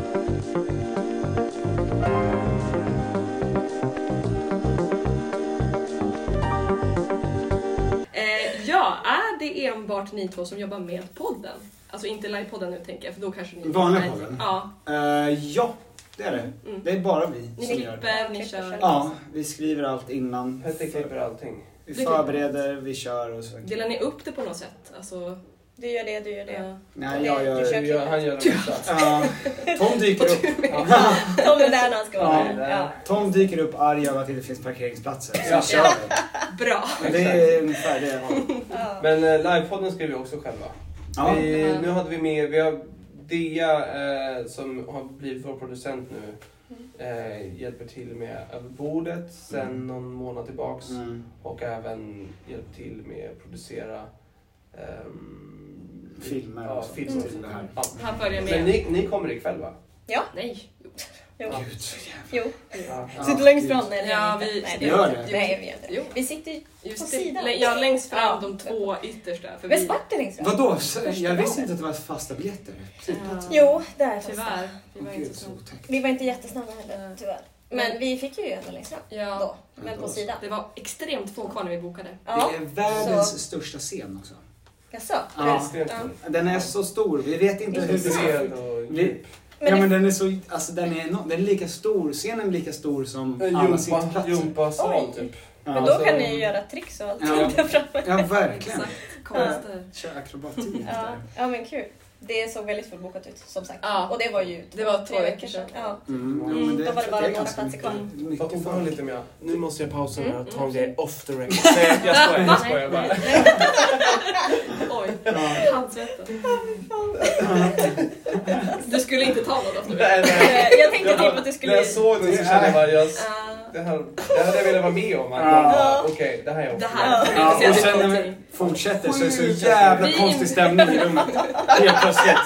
[SPEAKER 4] Eh, ja, är det enbart ni två som jobbar med podden? Alltså inte livepodden nu tänker jag, för då kanske ni...
[SPEAKER 3] Vanliga
[SPEAKER 4] Nej.
[SPEAKER 3] podden?
[SPEAKER 4] Ja.
[SPEAKER 3] Eh, ja, det är det.
[SPEAKER 4] Mm.
[SPEAKER 3] Det är bara vi
[SPEAKER 4] Ni
[SPEAKER 3] som gör det.
[SPEAKER 4] klipper, ni kör.
[SPEAKER 3] Ja, vi skriver allt innan.
[SPEAKER 1] Petter klipper allting.
[SPEAKER 3] Vi förbereder, vi kör och så.
[SPEAKER 4] Delar ni upp det på något sätt? Alltså, eh,
[SPEAKER 2] Du gör det, du gör det.
[SPEAKER 4] ja.
[SPEAKER 3] Nej, jag gör...
[SPEAKER 2] kör
[SPEAKER 1] Du gör- Han gör det mesta.
[SPEAKER 3] Ja, Tom dyker upp.
[SPEAKER 2] Tom är där när han ska vara
[SPEAKER 3] Ja,
[SPEAKER 2] där.
[SPEAKER 1] där.
[SPEAKER 2] Ja.
[SPEAKER 3] Tom dyker upp arg över att det inte finns parkeringsplatser. Så
[SPEAKER 1] Ja.
[SPEAKER 3] kör vi.
[SPEAKER 4] Bra!
[SPEAKER 3] Men Det är ungefär det jag har.
[SPEAKER 2] Ja.
[SPEAKER 1] Men eh, livepodden skriver vi också själva.
[SPEAKER 3] Ja.
[SPEAKER 1] Vi, nu hade vi med, vi har Dea eh, som har blivit vår producent nu. Eh, hjälper till med över bordet sen
[SPEAKER 3] Mm.
[SPEAKER 1] någon månad tillbaks.
[SPEAKER 3] Mm.
[SPEAKER 1] Och även hjälpt till med att producera ehm,
[SPEAKER 3] Filmer
[SPEAKER 1] Ja,
[SPEAKER 3] och sånt
[SPEAKER 1] filmer och
[SPEAKER 3] till
[SPEAKER 1] sånt.
[SPEAKER 3] det här.
[SPEAKER 1] Ja.
[SPEAKER 4] Han följer
[SPEAKER 1] Men
[SPEAKER 4] med.
[SPEAKER 1] ni, ni kommer ikväll va?
[SPEAKER 4] Nej.
[SPEAKER 2] Jo.
[SPEAKER 3] Gud, så jävla-
[SPEAKER 2] jo.
[SPEAKER 1] Ja.
[SPEAKER 3] Ja,
[SPEAKER 2] Sitter längst
[SPEAKER 3] gud.
[SPEAKER 2] fram? Nej, det
[SPEAKER 4] Ja,
[SPEAKER 2] gör vi
[SPEAKER 4] vi-
[SPEAKER 2] inte. Nej,
[SPEAKER 3] Gör
[SPEAKER 2] inte.
[SPEAKER 3] det?
[SPEAKER 2] Nej, vi gör inte
[SPEAKER 4] Jo.
[SPEAKER 2] det. Vi sitter ju... På
[SPEAKER 4] Just
[SPEAKER 2] sidan.
[SPEAKER 4] det. Ja, längst fram,
[SPEAKER 2] Ja.
[SPEAKER 4] de två yttersta. För
[SPEAKER 2] Men
[SPEAKER 4] vi,
[SPEAKER 2] svart är längst fram.
[SPEAKER 3] Vadå? Så- Jag
[SPEAKER 2] raden.
[SPEAKER 3] visste inte att det var fasta biljetter.
[SPEAKER 4] Ja.
[SPEAKER 2] Jo, det är fast.
[SPEAKER 4] Tyvärr. Vi var
[SPEAKER 3] Åh, Typ.
[SPEAKER 4] inte
[SPEAKER 3] Gud, så
[SPEAKER 4] så
[SPEAKER 3] otäckt.
[SPEAKER 2] Vi var inte jättesnabba heller,
[SPEAKER 4] Nej.
[SPEAKER 2] tyvärr. Men vi fick ju ändå längst fram
[SPEAKER 4] Mm. Ja,
[SPEAKER 2] då. Men på
[SPEAKER 3] Då.
[SPEAKER 2] sidan.
[SPEAKER 4] det var extremt få kvar när vi bokade.
[SPEAKER 2] Ja.
[SPEAKER 3] Det är världens
[SPEAKER 2] Så.
[SPEAKER 3] största scen också.
[SPEAKER 2] Jaså?
[SPEAKER 3] Ja.
[SPEAKER 1] Extremt
[SPEAKER 4] Ja.
[SPEAKER 3] Den är så stor. Vi vet inte hur vi ska...
[SPEAKER 1] bred och
[SPEAKER 3] Vi,
[SPEAKER 2] Men
[SPEAKER 3] ja men
[SPEAKER 2] det...
[SPEAKER 3] den är så... Alltså den är, enorm. den är lika stor. Scenen är lika stor som
[SPEAKER 1] En eh,
[SPEAKER 3] alla
[SPEAKER 1] Jumpa,
[SPEAKER 3] sittplatser.
[SPEAKER 1] jumpasal
[SPEAKER 2] Oj.
[SPEAKER 1] typ.
[SPEAKER 2] Men
[SPEAKER 3] Ja,
[SPEAKER 2] då
[SPEAKER 1] alltså-
[SPEAKER 2] kan ni ju göra tricks och allt
[SPEAKER 3] Ja.
[SPEAKER 2] där framme.
[SPEAKER 3] ja verkligen.
[SPEAKER 4] Exakt. Konster.
[SPEAKER 3] Kör akrobatik
[SPEAKER 2] Ja.
[SPEAKER 3] där.
[SPEAKER 2] ja, men kul. Det såg väldigt fullbokat ut, som sagt.
[SPEAKER 4] Ja.
[SPEAKER 2] Och det var ju
[SPEAKER 4] Det var
[SPEAKER 2] tre veckor sedan. Ja.
[SPEAKER 3] Mm, ja,
[SPEAKER 1] Mm,
[SPEAKER 3] men
[SPEAKER 2] då var det bara
[SPEAKER 3] är
[SPEAKER 2] några
[SPEAKER 3] ganska
[SPEAKER 2] platser kvar.
[SPEAKER 3] mycket- mycket
[SPEAKER 1] Vad
[SPEAKER 3] folk.
[SPEAKER 1] ovanligt om jag... Nu måste jag pausa
[SPEAKER 4] Mm,
[SPEAKER 1] här och ta
[SPEAKER 4] mm.
[SPEAKER 1] en grej off the record. Nej, jag skojar, jag skojar bara.
[SPEAKER 4] Oj,
[SPEAKER 3] Ja.
[SPEAKER 4] handsvetten. Du skulle inte ta något av det.
[SPEAKER 1] Nej, nej.
[SPEAKER 2] Eh, Jag tänkte typ att du
[SPEAKER 1] När
[SPEAKER 2] skulle...
[SPEAKER 1] jag såg det så kände jag bara, jag,
[SPEAKER 4] Ah,
[SPEAKER 1] det, här, det här hade jag velat vara med om. att jag
[SPEAKER 3] Ja.
[SPEAKER 1] bara, Okej, det här är off
[SPEAKER 4] Det
[SPEAKER 1] the
[SPEAKER 4] här
[SPEAKER 1] record.
[SPEAKER 3] Ja,
[SPEAKER 2] typ
[SPEAKER 3] och sen när vi
[SPEAKER 4] Någonting.
[SPEAKER 3] fortsätter så är det
[SPEAKER 1] Sjukt.
[SPEAKER 3] så jävla
[SPEAKER 4] Vi-
[SPEAKER 3] konstig stämning i rummet. Helt plötsligt.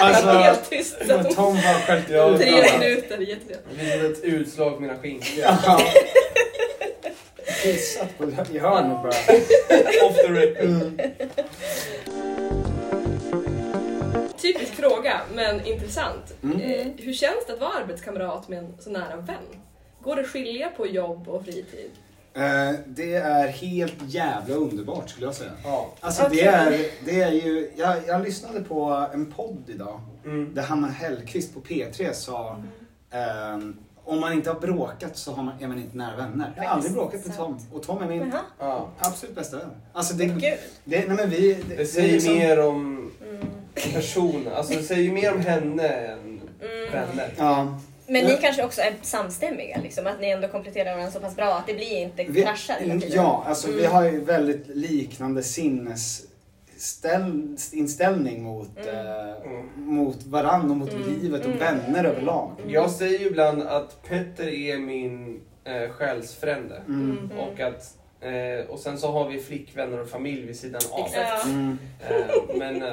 [SPEAKER 3] Alltså,
[SPEAKER 4] Helt tyst.
[SPEAKER 3] och Tom har skällt ut alla.
[SPEAKER 4] Tre minuter, jättetrevligt.
[SPEAKER 1] Vid ett utslag på mina skinkor.
[SPEAKER 3] Ja. Kissat på i hörnet bara.
[SPEAKER 1] Off the record.
[SPEAKER 2] Mm.
[SPEAKER 4] Typisk fråga, men intressant.
[SPEAKER 3] Mm.
[SPEAKER 4] Eh, hur känns det att vara arbetskamrat med en så nära vän? Går det att skilja på jobb och fritid?
[SPEAKER 3] Eh, det är helt jävla underbart skulle jag säga.
[SPEAKER 1] Ja.
[SPEAKER 3] Alltså det, är, det är ju, jag, jag lyssnade på en podd idag
[SPEAKER 1] Mm.
[SPEAKER 3] där Hanna Hellquist på P3 sa ehm, om man inte har bråkat så har man, är man inte nära vänner. Jag har aldrig bråkat med Tom och Tom är min
[SPEAKER 2] Jaha,
[SPEAKER 1] Ja.
[SPEAKER 3] absolut bästa vän. Alltså det, det,
[SPEAKER 2] gud.
[SPEAKER 3] nej men vi, det,
[SPEAKER 1] Det
[SPEAKER 3] är
[SPEAKER 1] säger
[SPEAKER 3] liksom-
[SPEAKER 1] mer om
[SPEAKER 2] Mm.
[SPEAKER 1] personen, alltså det säger ju mer om henne än
[SPEAKER 2] Mm.
[SPEAKER 1] vänner.
[SPEAKER 3] Ja,
[SPEAKER 2] Men ni kanske också är samstämmiga, liksom, att ni ändå kompletterar varandra så pass bra att det blir inte
[SPEAKER 3] vi,
[SPEAKER 2] kraschar hela tiden. Mm.
[SPEAKER 3] ja, alltså vi har ju väldigt liknande sinnesinställning mot, eh,
[SPEAKER 1] Mm.
[SPEAKER 3] mot varandra och mot livet och vänner överlag.
[SPEAKER 1] Jag säger ju ibland att Petter är min eh, själsfrände.
[SPEAKER 3] Mm.
[SPEAKER 1] Och, att, eh, och sen så har vi flickvänner och familj vid sidan av.
[SPEAKER 4] Exakt.
[SPEAKER 3] Mm.
[SPEAKER 1] Eh, men eh,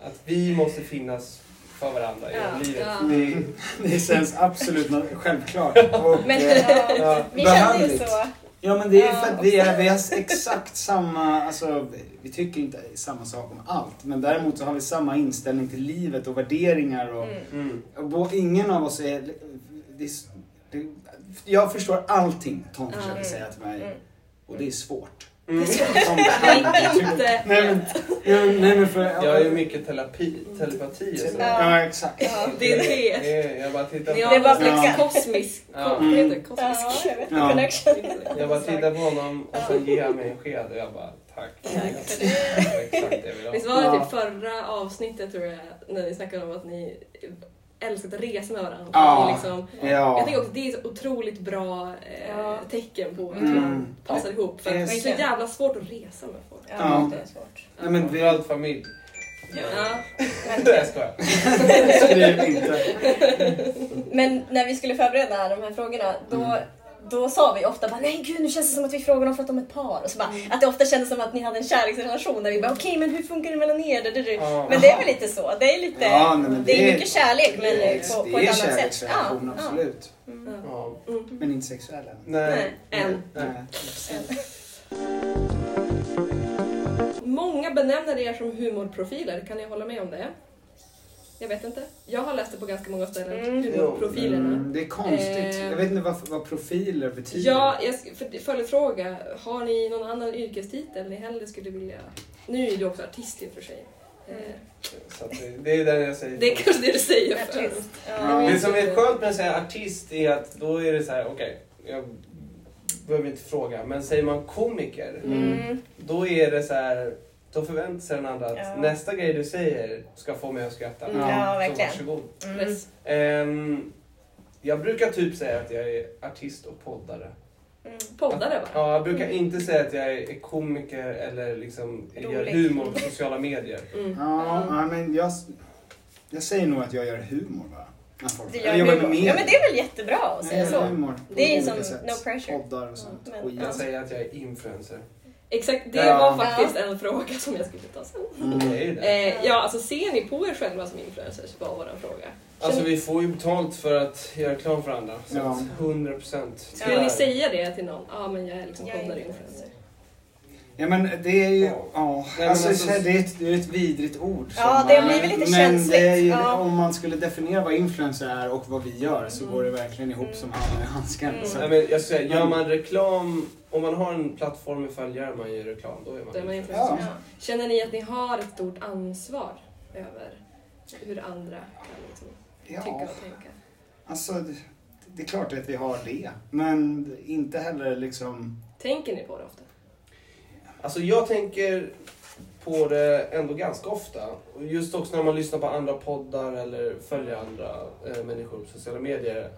[SPEAKER 1] att vi måste finnas för varandra genom
[SPEAKER 4] Ja,
[SPEAKER 1] livet.
[SPEAKER 4] ja.
[SPEAKER 1] Det,
[SPEAKER 3] Det känns absolut nå- självklart. Och,
[SPEAKER 2] Men
[SPEAKER 3] eh,
[SPEAKER 2] ja,
[SPEAKER 1] ja.
[SPEAKER 2] vi kände ju
[SPEAKER 3] behövligt.
[SPEAKER 2] så.
[SPEAKER 3] Ja men det är för att vi, är, vi har exakt samma, alltså vi tycker inte samma sak om allt. Men däremot så har vi samma inställning till livet och värderingar och
[SPEAKER 1] mm.
[SPEAKER 3] Och bo- Ingen av oss är... Det, är-
[SPEAKER 2] Mm.
[SPEAKER 3] det, jag förstår allting Tom försöker säga till mig. Och det är svårt.
[SPEAKER 1] Mm.
[SPEAKER 3] Som
[SPEAKER 4] Det gick
[SPEAKER 3] aldrig-
[SPEAKER 4] inte.
[SPEAKER 3] Nej men, nej, nej, men för...
[SPEAKER 1] Jag har ju mycket terapi, telepati och sådär.
[SPEAKER 3] Ja, exakt.
[SPEAKER 2] Ja.
[SPEAKER 4] Det är det.
[SPEAKER 1] Det är- Jag bara tittar
[SPEAKER 4] Ni
[SPEAKER 1] på,
[SPEAKER 4] har
[SPEAKER 2] Det var
[SPEAKER 4] någon slags
[SPEAKER 2] flickan.
[SPEAKER 4] kosmisk...
[SPEAKER 1] Ja.
[SPEAKER 4] Ko- vad heter det? Kosmisk...
[SPEAKER 2] Ja, jag vet.
[SPEAKER 3] Mm. Ja.
[SPEAKER 2] Connection.
[SPEAKER 1] jag bara tittar på honom och sen ger han mig en sked och jag bara tack.
[SPEAKER 2] för
[SPEAKER 1] Det var exakt det jag ville ha.
[SPEAKER 4] Visst var det
[SPEAKER 3] Ja.
[SPEAKER 4] typ förra avsnittet tror jag, när ni snackade om att ni älskade att resa med varandra.
[SPEAKER 3] Ja.
[SPEAKER 4] Och liksom, Jag
[SPEAKER 3] Ja.
[SPEAKER 4] tänker också att det är ett otroligt bra eh,
[SPEAKER 2] Ja.
[SPEAKER 4] tecken på att
[SPEAKER 3] Mm.
[SPEAKER 4] man passar ihop. För
[SPEAKER 3] Det
[SPEAKER 4] det
[SPEAKER 3] är
[SPEAKER 4] är så
[SPEAKER 2] så-
[SPEAKER 4] jävla svårt att resa med folk.
[SPEAKER 2] Ja, det är svårt.
[SPEAKER 3] Nej men vi
[SPEAKER 1] Framförallt familj.
[SPEAKER 4] Ja.
[SPEAKER 1] Nej, jag skojar.
[SPEAKER 3] skriver inte.
[SPEAKER 2] Men när vi skulle förbereda de här frågorna, då,
[SPEAKER 3] Mm.
[SPEAKER 2] då sa vi ofta bara nej gud nu känns det som att vi frågar dem för att de är ett par. Och så bara,
[SPEAKER 3] Mm.
[SPEAKER 2] Att det ofta kändes som att ni hade en kärleksrelation där vi bara okej men hur funkar det mellan er? Du, du, du.
[SPEAKER 1] Ja.
[SPEAKER 2] Men det är väl lite så, det är lite,
[SPEAKER 3] Ja, nej, men
[SPEAKER 2] det,
[SPEAKER 3] det
[SPEAKER 2] är
[SPEAKER 3] är-
[SPEAKER 2] mycket kärlek men på, på
[SPEAKER 3] det
[SPEAKER 2] ett
[SPEAKER 3] är
[SPEAKER 2] annat sätt. Mm.
[SPEAKER 3] kärleksrelation, absolut.
[SPEAKER 1] Ja.
[SPEAKER 4] Mm.
[SPEAKER 3] Men inte sexuell än.
[SPEAKER 1] Nej.
[SPEAKER 2] Nej.
[SPEAKER 4] En.
[SPEAKER 1] Nej.
[SPEAKER 3] Nej.
[SPEAKER 4] Många benämner er som humorprofiler, kan ni hålla med om det? Jag vet inte. Jag har läst det på ganska många ställen,
[SPEAKER 2] Mm.
[SPEAKER 4] humorprofilerna.
[SPEAKER 3] Mm, det är konstigt.
[SPEAKER 4] Eh.
[SPEAKER 3] Jag vet inte vad, vad profiler betyder.
[SPEAKER 4] Ja, jag sk- för- följdfråga. Har ni någon annan yrkestitel ni hellre skulle vilja... Nu är du också artist i och för sig. Eh,
[SPEAKER 1] Så att det- det är det jag säger.
[SPEAKER 4] Det är kanske det du säger för.
[SPEAKER 2] Artist.
[SPEAKER 3] Ja.
[SPEAKER 1] Det som är skönt med att säga artist är att då är det så här, okej, jag behöver inte fråga, men säger man komiker,
[SPEAKER 2] Mm.
[SPEAKER 1] då är det så här, då förväntar sig den andra att
[SPEAKER 2] Ja.
[SPEAKER 1] nästa grej du säger ska få mig att skratta.
[SPEAKER 3] Mm.
[SPEAKER 2] Ja,
[SPEAKER 1] Så
[SPEAKER 2] verkligen.
[SPEAKER 1] varsågod.
[SPEAKER 2] Mm.
[SPEAKER 4] Yes.
[SPEAKER 1] Ehm, jag brukar typ säga att jag är artist och poddare.
[SPEAKER 2] Mm.
[SPEAKER 4] Poddare va?
[SPEAKER 1] Ja, jag brukar inte säga att jag är komiker eller liksom gör
[SPEAKER 2] Rolig.
[SPEAKER 1] humor på sociala medier.
[SPEAKER 4] Mm.
[SPEAKER 3] Ja, ja, men jag, jag säger nog att jag gör humor bara. När folk-
[SPEAKER 2] Du
[SPEAKER 3] jag
[SPEAKER 2] gör
[SPEAKER 3] jobbar med
[SPEAKER 2] humor.
[SPEAKER 3] media.
[SPEAKER 2] Ja men det är väl jättebra att
[SPEAKER 3] Jag
[SPEAKER 2] säga
[SPEAKER 3] gör
[SPEAKER 2] så.
[SPEAKER 3] humor på
[SPEAKER 2] Det är
[SPEAKER 3] olika
[SPEAKER 2] som
[SPEAKER 3] sätt.
[SPEAKER 2] no pressure.
[SPEAKER 3] Poddar och sånt.
[SPEAKER 2] Men-
[SPEAKER 3] Och
[SPEAKER 1] Jag
[SPEAKER 3] yes.
[SPEAKER 1] säger att jag är influencer.
[SPEAKER 4] Exakt, det
[SPEAKER 3] Ja.
[SPEAKER 4] var faktiskt en fråga som jag skulle ta sen.
[SPEAKER 1] Jag
[SPEAKER 3] mm.
[SPEAKER 1] är ju det.
[SPEAKER 4] Eh, ja, alltså ser ni på er själva som influencers? var vår fråga.
[SPEAKER 1] Alltså vi får ju betalt för att göra reklam för andra. Så
[SPEAKER 3] Ja.
[SPEAKER 1] att 100 procent.
[SPEAKER 4] Skulle ni säga det till någon? Ja, men jag är liksom
[SPEAKER 2] Jag är
[SPEAKER 4] poddare
[SPEAKER 2] influencer.
[SPEAKER 4] influencer.
[SPEAKER 3] Ja men det är ju, ja.
[SPEAKER 1] men
[SPEAKER 3] Alltså,
[SPEAKER 1] alltså-
[SPEAKER 3] så här, det, är ett, det är ett vidrigt ord. som
[SPEAKER 2] Ja,
[SPEAKER 3] man-
[SPEAKER 2] det blir väl lite
[SPEAKER 3] Men det är ju,
[SPEAKER 2] känsligt. Ja.
[SPEAKER 3] om man skulle definiera vad influencer är och vad vi gör så
[SPEAKER 4] Mm.
[SPEAKER 3] går det verkligen ihop som handen i handsken.
[SPEAKER 2] Mm.
[SPEAKER 3] Så-
[SPEAKER 1] Nej, men jag skulle säga, gör man reklam, om man har en plattform med följare man gör reklam, då är man
[SPEAKER 4] Då är man
[SPEAKER 1] influencer.
[SPEAKER 4] influencer.
[SPEAKER 2] Ja.
[SPEAKER 4] Känner ni att ni har ett stort ansvar över hur andra kan liksom tycka
[SPEAKER 3] Ja,
[SPEAKER 4] och tänka?
[SPEAKER 3] alltså det, det är klart att vi har det. Men inte heller liksom...
[SPEAKER 4] Tänker ni på det ofta?
[SPEAKER 1] Alltså jag tänker på det ändå ganska ofta. Och Just också när man lyssnar på andra poddar eller följer andra eh, människor på sociala medier.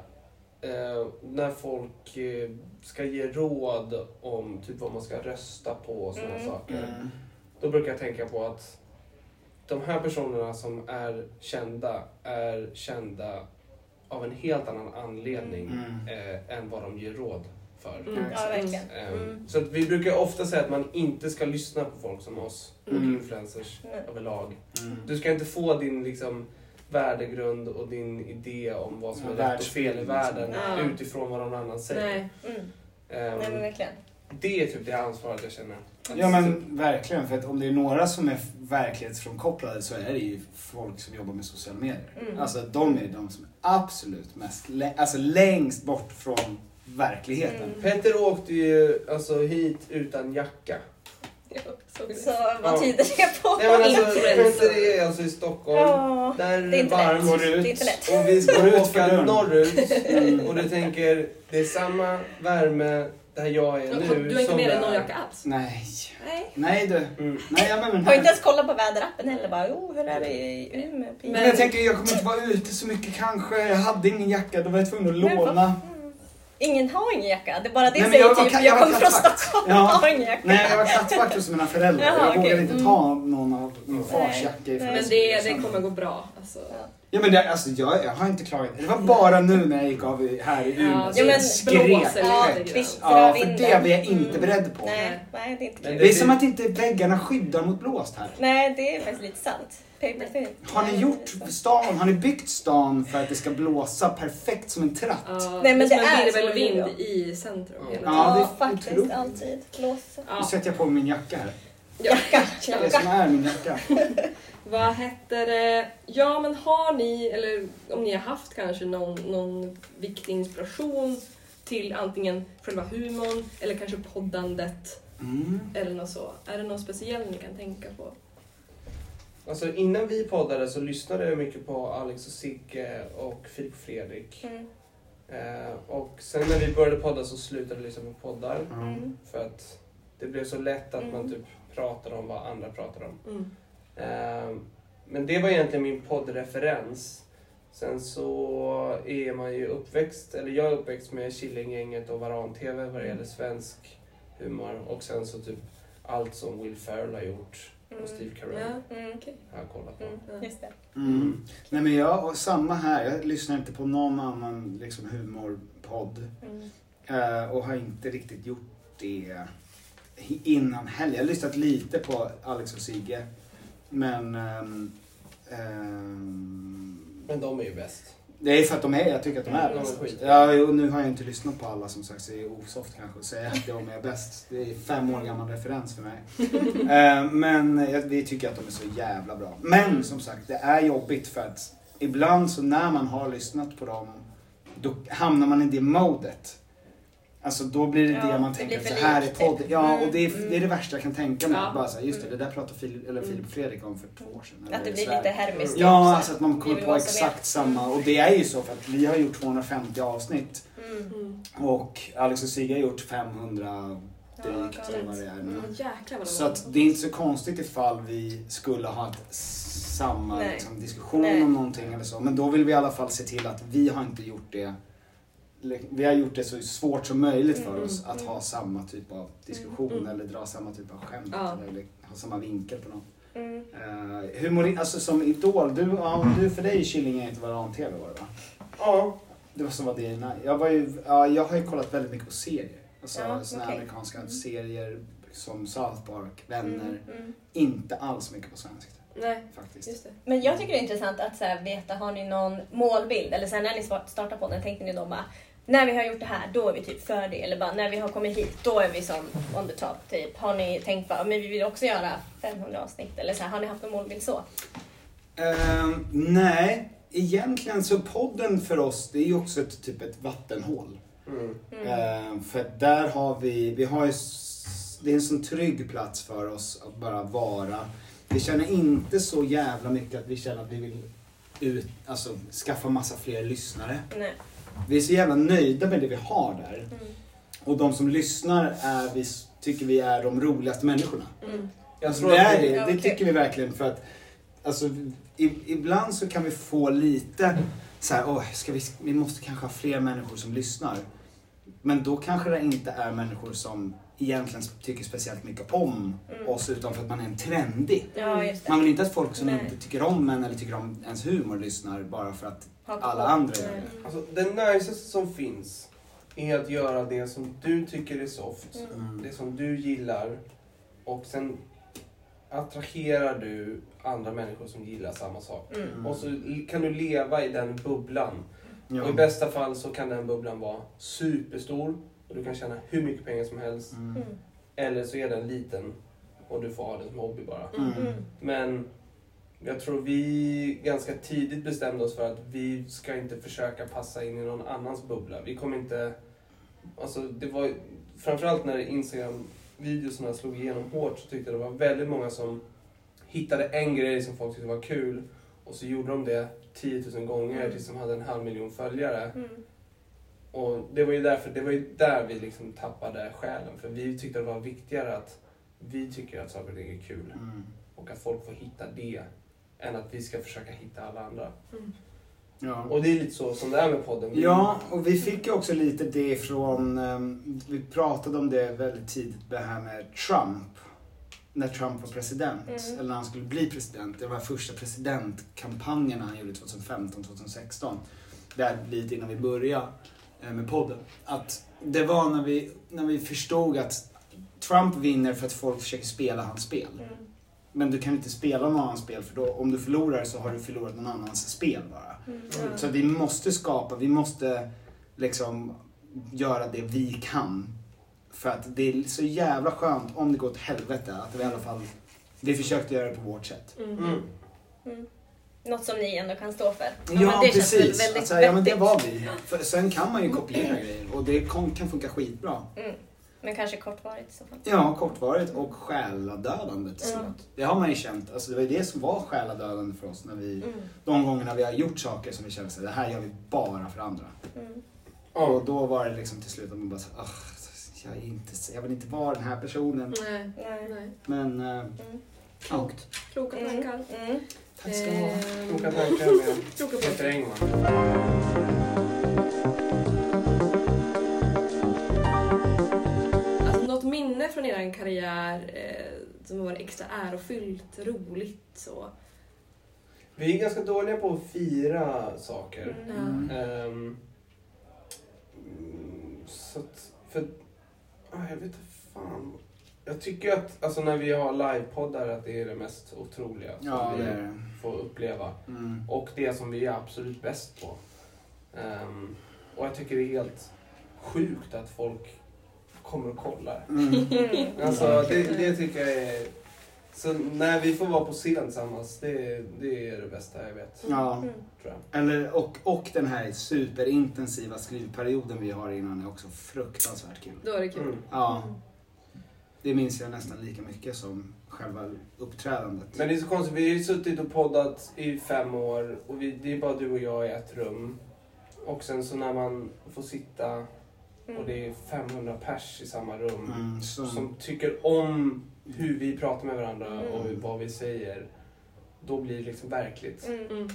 [SPEAKER 1] Eh, när folk eh, ska ge råd om typ vad man ska rösta på och sådana
[SPEAKER 2] Mm.
[SPEAKER 1] saker.
[SPEAKER 3] Mm.
[SPEAKER 1] Då brukar jag tänka på att de här personerna som är kända är kända av en helt annan anledning
[SPEAKER 3] Mm.
[SPEAKER 1] eh, än vad de ger råd för.
[SPEAKER 3] Mm.
[SPEAKER 2] Ja, verkligen.
[SPEAKER 1] Eh,
[SPEAKER 2] Mm.
[SPEAKER 1] Så att vi brukar ofta säga att man inte ska lyssna på folk som oss och
[SPEAKER 3] Mm.
[SPEAKER 1] influencers
[SPEAKER 2] Nej.
[SPEAKER 1] överlag.
[SPEAKER 3] Mm.
[SPEAKER 1] Du ska inte få din liksom, värdegrund och din idé om vad som
[SPEAKER 3] Ja,
[SPEAKER 1] är rätt och fel i
[SPEAKER 3] världsbild,
[SPEAKER 1] världen
[SPEAKER 4] liksom. Ja.
[SPEAKER 1] utifrån vad någon annan säger.
[SPEAKER 4] Nej.
[SPEAKER 2] Mm.
[SPEAKER 1] Ehm,
[SPEAKER 2] Nej men verkligen.
[SPEAKER 1] det är typ det ansvaret jag känner.
[SPEAKER 3] Ja men verkligen, för att om det är några som är verklighetsfrånkopplade så är det ju folk som jobbar med sociala medier.
[SPEAKER 2] Mm.
[SPEAKER 3] Alltså de är de som är absolut mest, lä- alltså längst bort från verkligheten.
[SPEAKER 2] Mm.
[SPEAKER 1] Petter åkte ju alltså, hit utan jacka.
[SPEAKER 4] Ja, så är
[SPEAKER 2] Så
[SPEAKER 4] det.
[SPEAKER 1] Ja.
[SPEAKER 2] vad tyder det på?
[SPEAKER 1] Nej, men alltså,
[SPEAKER 4] Influencer.
[SPEAKER 1] Petter är alltså i Stockholm.
[SPEAKER 2] Ja.
[SPEAKER 1] Där
[SPEAKER 2] Det är inte
[SPEAKER 1] varmt.
[SPEAKER 2] lätt.
[SPEAKER 3] Går
[SPEAKER 2] Det
[SPEAKER 3] ut.
[SPEAKER 2] är inte lätt.
[SPEAKER 1] Och vi
[SPEAKER 3] Går
[SPEAKER 1] ska
[SPEAKER 3] ut för
[SPEAKER 1] åka
[SPEAKER 3] dörren. Mm.
[SPEAKER 1] norrut och du tänker det är samma värme där jag är
[SPEAKER 4] Du
[SPEAKER 1] nu
[SPEAKER 4] har inte
[SPEAKER 1] som
[SPEAKER 4] med dig
[SPEAKER 1] där-
[SPEAKER 4] någon jacka alls?
[SPEAKER 3] Nej.
[SPEAKER 4] Nej.
[SPEAKER 3] Nej du.
[SPEAKER 1] Mm.
[SPEAKER 3] Nej, jag menar, men,
[SPEAKER 2] Har inte ens kollat på väderappen heller. Bara, oh, hur är det i Umeå? Pia?"
[SPEAKER 3] men jag tänker jag kommer inte vara ute så mycket kanske. Jag hade ingen jacka, då var jag tvungen att
[SPEAKER 2] Men vad-
[SPEAKER 3] låna.
[SPEAKER 2] Ingen har ingen jacka. Det är bara det
[SPEAKER 3] Nej, men
[SPEAKER 2] säger
[SPEAKER 3] jag var
[SPEAKER 2] typ,
[SPEAKER 3] ka-
[SPEAKER 2] jag,
[SPEAKER 3] jag var
[SPEAKER 2] kommer från
[SPEAKER 3] kattvakt."
[SPEAKER 2] Stockholm och
[SPEAKER 3] Ja.
[SPEAKER 2] har ingen jacka.
[SPEAKER 3] Nej, jag var kattvakt hos mina föräldrar.
[SPEAKER 2] Jaha,
[SPEAKER 3] jag vågade
[SPEAKER 2] okej. Mm.
[SPEAKER 3] inte ta någon av min
[SPEAKER 1] Nej.
[SPEAKER 3] fars jacka ifrån
[SPEAKER 4] Men det, det kommer gå bra. Alltså.
[SPEAKER 3] Ja men det, alltså jag, jag har inte klarat det. var bara nu när jag gick av i- här i Umeå
[SPEAKER 4] Ja,
[SPEAKER 3] som
[SPEAKER 2] ja, men
[SPEAKER 3] jag skrek.
[SPEAKER 4] blåser.
[SPEAKER 2] Ja,
[SPEAKER 4] lite grann.
[SPEAKER 2] visst,
[SPEAKER 3] Ja, för
[SPEAKER 2] Äh, vinden.
[SPEAKER 3] det var jag inte
[SPEAKER 2] Mm.
[SPEAKER 3] beredd på.
[SPEAKER 2] Nej, nej, det är inte
[SPEAKER 1] Men
[SPEAKER 2] kul.
[SPEAKER 3] Det är som att inte väggarna skyddar mot blåst här.
[SPEAKER 2] Nej, det är faktiskt lite sant. Paper thin.
[SPEAKER 3] Har ni
[SPEAKER 2] Nej,
[SPEAKER 3] gjort
[SPEAKER 2] det är sant.
[SPEAKER 3] stan, har ni byggt stan för att det ska blåsa perfekt som en tratt?
[SPEAKER 4] Ja,
[SPEAKER 2] Nej, men det är
[SPEAKER 4] är
[SPEAKER 2] så
[SPEAKER 4] väl vind
[SPEAKER 2] Luleå.
[SPEAKER 4] i centrum
[SPEAKER 1] Ja.
[SPEAKER 4] hela tiden.
[SPEAKER 3] Mm. Ja,
[SPEAKER 2] Ja,
[SPEAKER 3] det är
[SPEAKER 2] faktiskt.
[SPEAKER 3] otroligt.
[SPEAKER 2] Alltid. Blåsa.
[SPEAKER 3] Nu
[SPEAKER 4] Ja.
[SPEAKER 3] sätter jag på min jacka här.
[SPEAKER 4] Ja.
[SPEAKER 3] Det är det som är min jacka.
[SPEAKER 4] Vad heter det? Ja, men har ni, eller om ni har haft kanske någon, någon viktig inspiration till antingen själva humorn eller kanske poddandet
[SPEAKER 3] Mm.
[SPEAKER 4] Eller något så. Är det någon speciell ni kan tänka på?
[SPEAKER 1] Alltså innan vi poddade så lyssnade jag mycket på Alex och Sigge och Filip och Fredrik.
[SPEAKER 2] Mm.
[SPEAKER 1] Eh, och sen när vi började podda så slutade jag lyssna på poddar.
[SPEAKER 3] Mm.
[SPEAKER 1] För att det blev så lätt att man
[SPEAKER 4] Mm.
[SPEAKER 1] typ pratade om vad andra pratade om.
[SPEAKER 4] Mm.
[SPEAKER 1] Eh, men det var egentligen min poddreferens. Sen så är man ju uppväxt, eller jag är uppväxt med Killinggänget och Varan-TV vad det gäller svensk humor. Och sen så typ allt som Will Ferrell har gjort och Steve Carell
[SPEAKER 4] Ja,
[SPEAKER 2] Mm.
[SPEAKER 4] okej.
[SPEAKER 1] har jag kollat på.
[SPEAKER 2] Mm. Just det.
[SPEAKER 3] Mm. Nej men jag, och samma här, jag lyssnar inte på någon annan liksom humorpodd.
[SPEAKER 2] Mm.
[SPEAKER 3] Eh, och har inte riktigt gjort det hi- innan heller. Jag har lyssnat lite på Alex och Sigge. Men... ehm, ehm,
[SPEAKER 1] Men de är ju bäst.
[SPEAKER 3] det är för att de är, jag tycker att de är
[SPEAKER 2] Mm,
[SPEAKER 1] De är
[SPEAKER 3] bäst.
[SPEAKER 1] skit.
[SPEAKER 3] Ja, jo, nu har jag inte lyssnat på alla som sagt så det är osoft kanske att säga att de är bäst. Det är fem år gammal referens för mig. Eh, Men jag- vi tycker att de är så jävla bra. Men som sagt, det är jobbigt för att ibland så när man har lyssnat på dem då hamnar man i det modet. Alltså då blir det
[SPEAKER 2] Ja,
[SPEAKER 3] det man
[SPEAKER 2] det
[SPEAKER 3] tänker,
[SPEAKER 2] blir
[SPEAKER 3] så
[SPEAKER 2] för
[SPEAKER 3] här är
[SPEAKER 2] likt,
[SPEAKER 3] podd.
[SPEAKER 2] typ.
[SPEAKER 3] Ja,
[SPEAKER 2] Mm,
[SPEAKER 3] och det är,
[SPEAKER 2] mm.
[SPEAKER 3] det är det värsta jag kan tänka mig.
[SPEAKER 4] Ja.
[SPEAKER 3] Bara så här, just det, det
[SPEAKER 4] Mm.
[SPEAKER 3] där pratade Filip, eller Filip och Fredrik om för två år sedan.
[SPEAKER 2] Att det
[SPEAKER 3] eller
[SPEAKER 2] blir
[SPEAKER 3] så här.
[SPEAKER 2] lite hermiskt.
[SPEAKER 3] Ja,
[SPEAKER 2] också.
[SPEAKER 3] alltså att man
[SPEAKER 2] Vi
[SPEAKER 3] kommer
[SPEAKER 2] vill
[SPEAKER 3] på
[SPEAKER 2] vara som
[SPEAKER 3] exakt
[SPEAKER 2] er.
[SPEAKER 3] samma. Och det är ju så för att vi har gjort 250 avsnitt
[SPEAKER 2] Mm.
[SPEAKER 4] Mm.
[SPEAKER 3] och Alex och Sigge har gjort 500
[SPEAKER 2] Ja,
[SPEAKER 3] drygt eller vad
[SPEAKER 2] galet.
[SPEAKER 3] det är nu.
[SPEAKER 2] Mm.
[SPEAKER 4] Åh, Jäklar vad de
[SPEAKER 3] Så
[SPEAKER 4] har.
[SPEAKER 3] att det är inte så konstigt ifall vi skulle ha haft samma
[SPEAKER 2] Nej.
[SPEAKER 3] liksom, diskussion
[SPEAKER 2] Nej.
[SPEAKER 3] om någonting eller så. Men då vill vi i alla fall se till att vi har inte gjort det vi har gjort det så svårt som möjligt för
[SPEAKER 4] Mm,
[SPEAKER 3] oss att
[SPEAKER 4] mm.
[SPEAKER 3] ha samma typ av diskussion
[SPEAKER 4] Mm,
[SPEAKER 3] eller dra samma typ av skämt
[SPEAKER 4] Ja.
[SPEAKER 3] eller ha samma vinkel på något.
[SPEAKER 2] Mm.
[SPEAKER 3] Uh, humor, alltså som Idol, du, ja, du för dig Killinga inte Varan-TV var det va?
[SPEAKER 1] Ja,
[SPEAKER 3] Det var som var dina. Jag, var ju, ja, jag har ju kollat väldigt mycket på serier. Alltså
[SPEAKER 2] Ja,
[SPEAKER 3] såna här
[SPEAKER 2] okej.
[SPEAKER 3] amerikanska
[SPEAKER 2] Mm.
[SPEAKER 3] serier som South Park, Vänner.
[SPEAKER 2] Mm. Mm.
[SPEAKER 3] Inte alls mycket på svenskt
[SPEAKER 4] Nej,
[SPEAKER 3] faktiskt.
[SPEAKER 4] just det.
[SPEAKER 2] Men jag tycker det är intressant att så här, veta, har ni någon målbild? Eller så här, när ni svar- startar podden, tänkte ni då bara när vi har gjort det här, då är vi typ för det. Eller bara när vi har kommit hit, då är vi som on the top. Typ. Har ni tänkt bara, men vi vill också göra 500 avsnitt? Eller så här, har ni haft någon målbild så?
[SPEAKER 3] Ehm, nej, egentligen så podden för oss det är ju också ett, typ ett vattenhål.
[SPEAKER 1] Mm.
[SPEAKER 2] Mm.
[SPEAKER 3] Ehm, för att där har vi, vi har ju, s- det är en sån trygg plats för oss att bara vara. Vi känner inte så jävla mycket att vi känner att vi vill ut, alltså, skaffa massa fler lyssnare.
[SPEAKER 2] Nej.
[SPEAKER 3] Vi är så jävla nöjda med det vi har där.
[SPEAKER 2] Mm.
[SPEAKER 3] Och de som lyssnar är, vi, s- tycker vi är de roligaste människorna.
[SPEAKER 4] Mm.
[SPEAKER 1] Jag tror
[SPEAKER 3] det,
[SPEAKER 1] att
[SPEAKER 3] är
[SPEAKER 1] vi,
[SPEAKER 3] det,
[SPEAKER 2] Ja,
[SPEAKER 3] det
[SPEAKER 2] okej.
[SPEAKER 3] tycker vi verkligen för att alltså, i, ibland så kan vi få lite så här, "Åh, ska vi, vi måste kanske ha fler människor som lyssnar. Men då kanske det inte är människor som egentligen tycker speciellt mycket om
[SPEAKER 2] Mm.
[SPEAKER 3] oss utan för att man är en trendig.
[SPEAKER 2] Ja, just det.
[SPEAKER 3] Man vill inte att folk som
[SPEAKER 2] Nej.
[SPEAKER 3] inte tycker om en eller tycker om ens humor lyssnar bara för att
[SPEAKER 2] Ha på.
[SPEAKER 3] alla andra gör
[SPEAKER 4] Nej.
[SPEAKER 3] det.
[SPEAKER 1] alltså, det najsaste som finns är att göra det som du tycker är soft,
[SPEAKER 2] Mm.
[SPEAKER 3] Mm.
[SPEAKER 1] det som du gillar och sen attraherar du andra människor som gillar samma sak.
[SPEAKER 2] Mm.
[SPEAKER 1] Och så l- kan du leva i den bubblan.
[SPEAKER 3] Ja.
[SPEAKER 1] Och i bästa fall så kan den bubblan vara superstor och du kan tjäna hur mycket pengar som helst.
[SPEAKER 3] Mm.
[SPEAKER 2] Mm.
[SPEAKER 1] Eller så är den liten och du får ha den som hobby bara.
[SPEAKER 2] Mm.
[SPEAKER 1] Men jag tror vi ganska tidigt bestämde oss för att vi ska inte försöka passa in i någon annans bubbla. Vi kommer inte... Alltså det var framförallt när Instagram-videorna slog igenom hårt så tyckte jag det var väldigt många som hittade en grej som folk tyckte var kul och så gjorde de det 10 000 gånger
[SPEAKER 2] Mm.
[SPEAKER 1] tills de hade en halv miljon följare.
[SPEAKER 2] Mm.
[SPEAKER 1] Och det var ju därför, det var ju där vi liksom tappade själen för vi tyckte det var viktigare att vi tycker att saker och ting är kul
[SPEAKER 3] Mm.
[SPEAKER 1] och att folk får hitta det än att vi ska försöka hitta alla andra.
[SPEAKER 3] Ja.
[SPEAKER 1] Och det är lite så som det är med podden. Vi-
[SPEAKER 3] Ja, och vi fick ju också lite det från, ehm, vi pratade om det väldigt tidigt, det här med Trump. När Trump var president,
[SPEAKER 2] Mm.
[SPEAKER 3] eller när han skulle bli president. Det var de här första presidentkampanjerna han gjorde 2015, 2016. Där lite innan vi började eh, med podden. Att det var när vi, när vi förstod att Trump vinner för att folk försöker spela hans spel.
[SPEAKER 2] Mm.
[SPEAKER 3] Men du kan inte spela någon annans spel för då, om du förlorar så har du förlorat någon annans spel bara.
[SPEAKER 2] Mm.
[SPEAKER 4] Ja.
[SPEAKER 3] Så vi måste skapa, vi måste liksom göra det vi kan. För att det är så jävla skönt om det går åt helvete att vi i alla fall, vi försökte göra det på vårt sätt.
[SPEAKER 1] Mm.
[SPEAKER 2] Mm. Något som ni ändå kan stå för.
[SPEAKER 3] Ja,
[SPEAKER 2] men det känns väl
[SPEAKER 3] precis.
[SPEAKER 2] väldigt
[SPEAKER 3] Att säga, ja men det
[SPEAKER 2] vettigt.
[SPEAKER 3] var vi. För sen kan man ju kopiera grejer och det kon- kan funka skitbra.
[SPEAKER 2] Mm. Men kanske kortvarigt i så fall.
[SPEAKER 3] Ja, kortvarigt och själadödande till slut.
[SPEAKER 2] Mm.
[SPEAKER 3] Det har man ju känt. Alltså, det var ju det som var själadödande för oss när vi,
[SPEAKER 2] Mm.
[SPEAKER 3] de gångerna vi har gjort saker som vi känner att det här gör vi bara för andra.
[SPEAKER 2] Mm.
[SPEAKER 1] Ja.
[SPEAKER 3] Och då var det liksom till slut att man bara så, "Ugh, jag, är inte, jag vill inte vara den här personen.
[SPEAKER 4] Nej.
[SPEAKER 2] Nej.
[SPEAKER 4] Nej.
[SPEAKER 3] Men, eh,
[SPEAKER 2] Mm.
[SPEAKER 3] ja,
[SPEAKER 4] Kloka
[SPEAKER 2] Mm.
[SPEAKER 4] tankar.
[SPEAKER 2] Mm.
[SPEAKER 3] tack ska du ha.
[SPEAKER 4] Ehm,
[SPEAKER 1] Kloka tankar med
[SPEAKER 4] kloka
[SPEAKER 1] Peter
[SPEAKER 4] tankar.
[SPEAKER 1] Engman.
[SPEAKER 4] Alltså, något minne från er karriär eh, som har varit extra ärofyllt, roligt så?
[SPEAKER 1] Vi är ganska dåliga på att fira saker.
[SPEAKER 2] Mm.
[SPEAKER 3] Mm.
[SPEAKER 1] Ehm, mm, så att, för, ah, jag vet inte fan. Jag tycker att alltså, när vi har livepoddar att det är det mest otroliga
[SPEAKER 3] Ja,
[SPEAKER 1] som
[SPEAKER 3] det
[SPEAKER 1] vi
[SPEAKER 3] är det.
[SPEAKER 1] får uppleva.
[SPEAKER 3] Mm.
[SPEAKER 1] Och det som vi är absolut bäst på. Ehm, och jag tycker det är helt sjukt att folk kommer och kollar.
[SPEAKER 3] Mm.
[SPEAKER 2] Mm.
[SPEAKER 1] Alltså, det, det
[SPEAKER 3] typ-
[SPEAKER 1] tycker jag är... Så när vi får vara på scen tillsammans, det, det är det bästa jag vet.
[SPEAKER 3] Ja,
[SPEAKER 2] Mm.
[SPEAKER 1] Tror jag.
[SPEAKER 3] eller, och, och den här superintensiva skrivperioden vi har innan är också fruktansvärt kul.
[SPEAKER 4] Då är det kul.
[SPEAKER 1] Mm.
[SPEAKER 3] Ja, det minns jag nästan lika mycket som själva uppträdandet.
[SPEAKER 1] Men det är så konstigt, vi har ju suttit och poddat i fem år och vi, det är bara du och jag i ett rum. Och sen så när man får sitta
[SPEAKER 2] Mm.
[SPEAKER 1] och det är 500 pers i samma rum
[SPEAKER 3] Mm, så,
[SPEAKER 1] som tycker om hur vi pratar med varandra
[SPEAKER 2] Mm.
[SPEAKER 1] och hur- vad vi säger. Då blir det liksom verkligt
[SPEAKER 2] Mm.
[SPEAKER 4] Mm.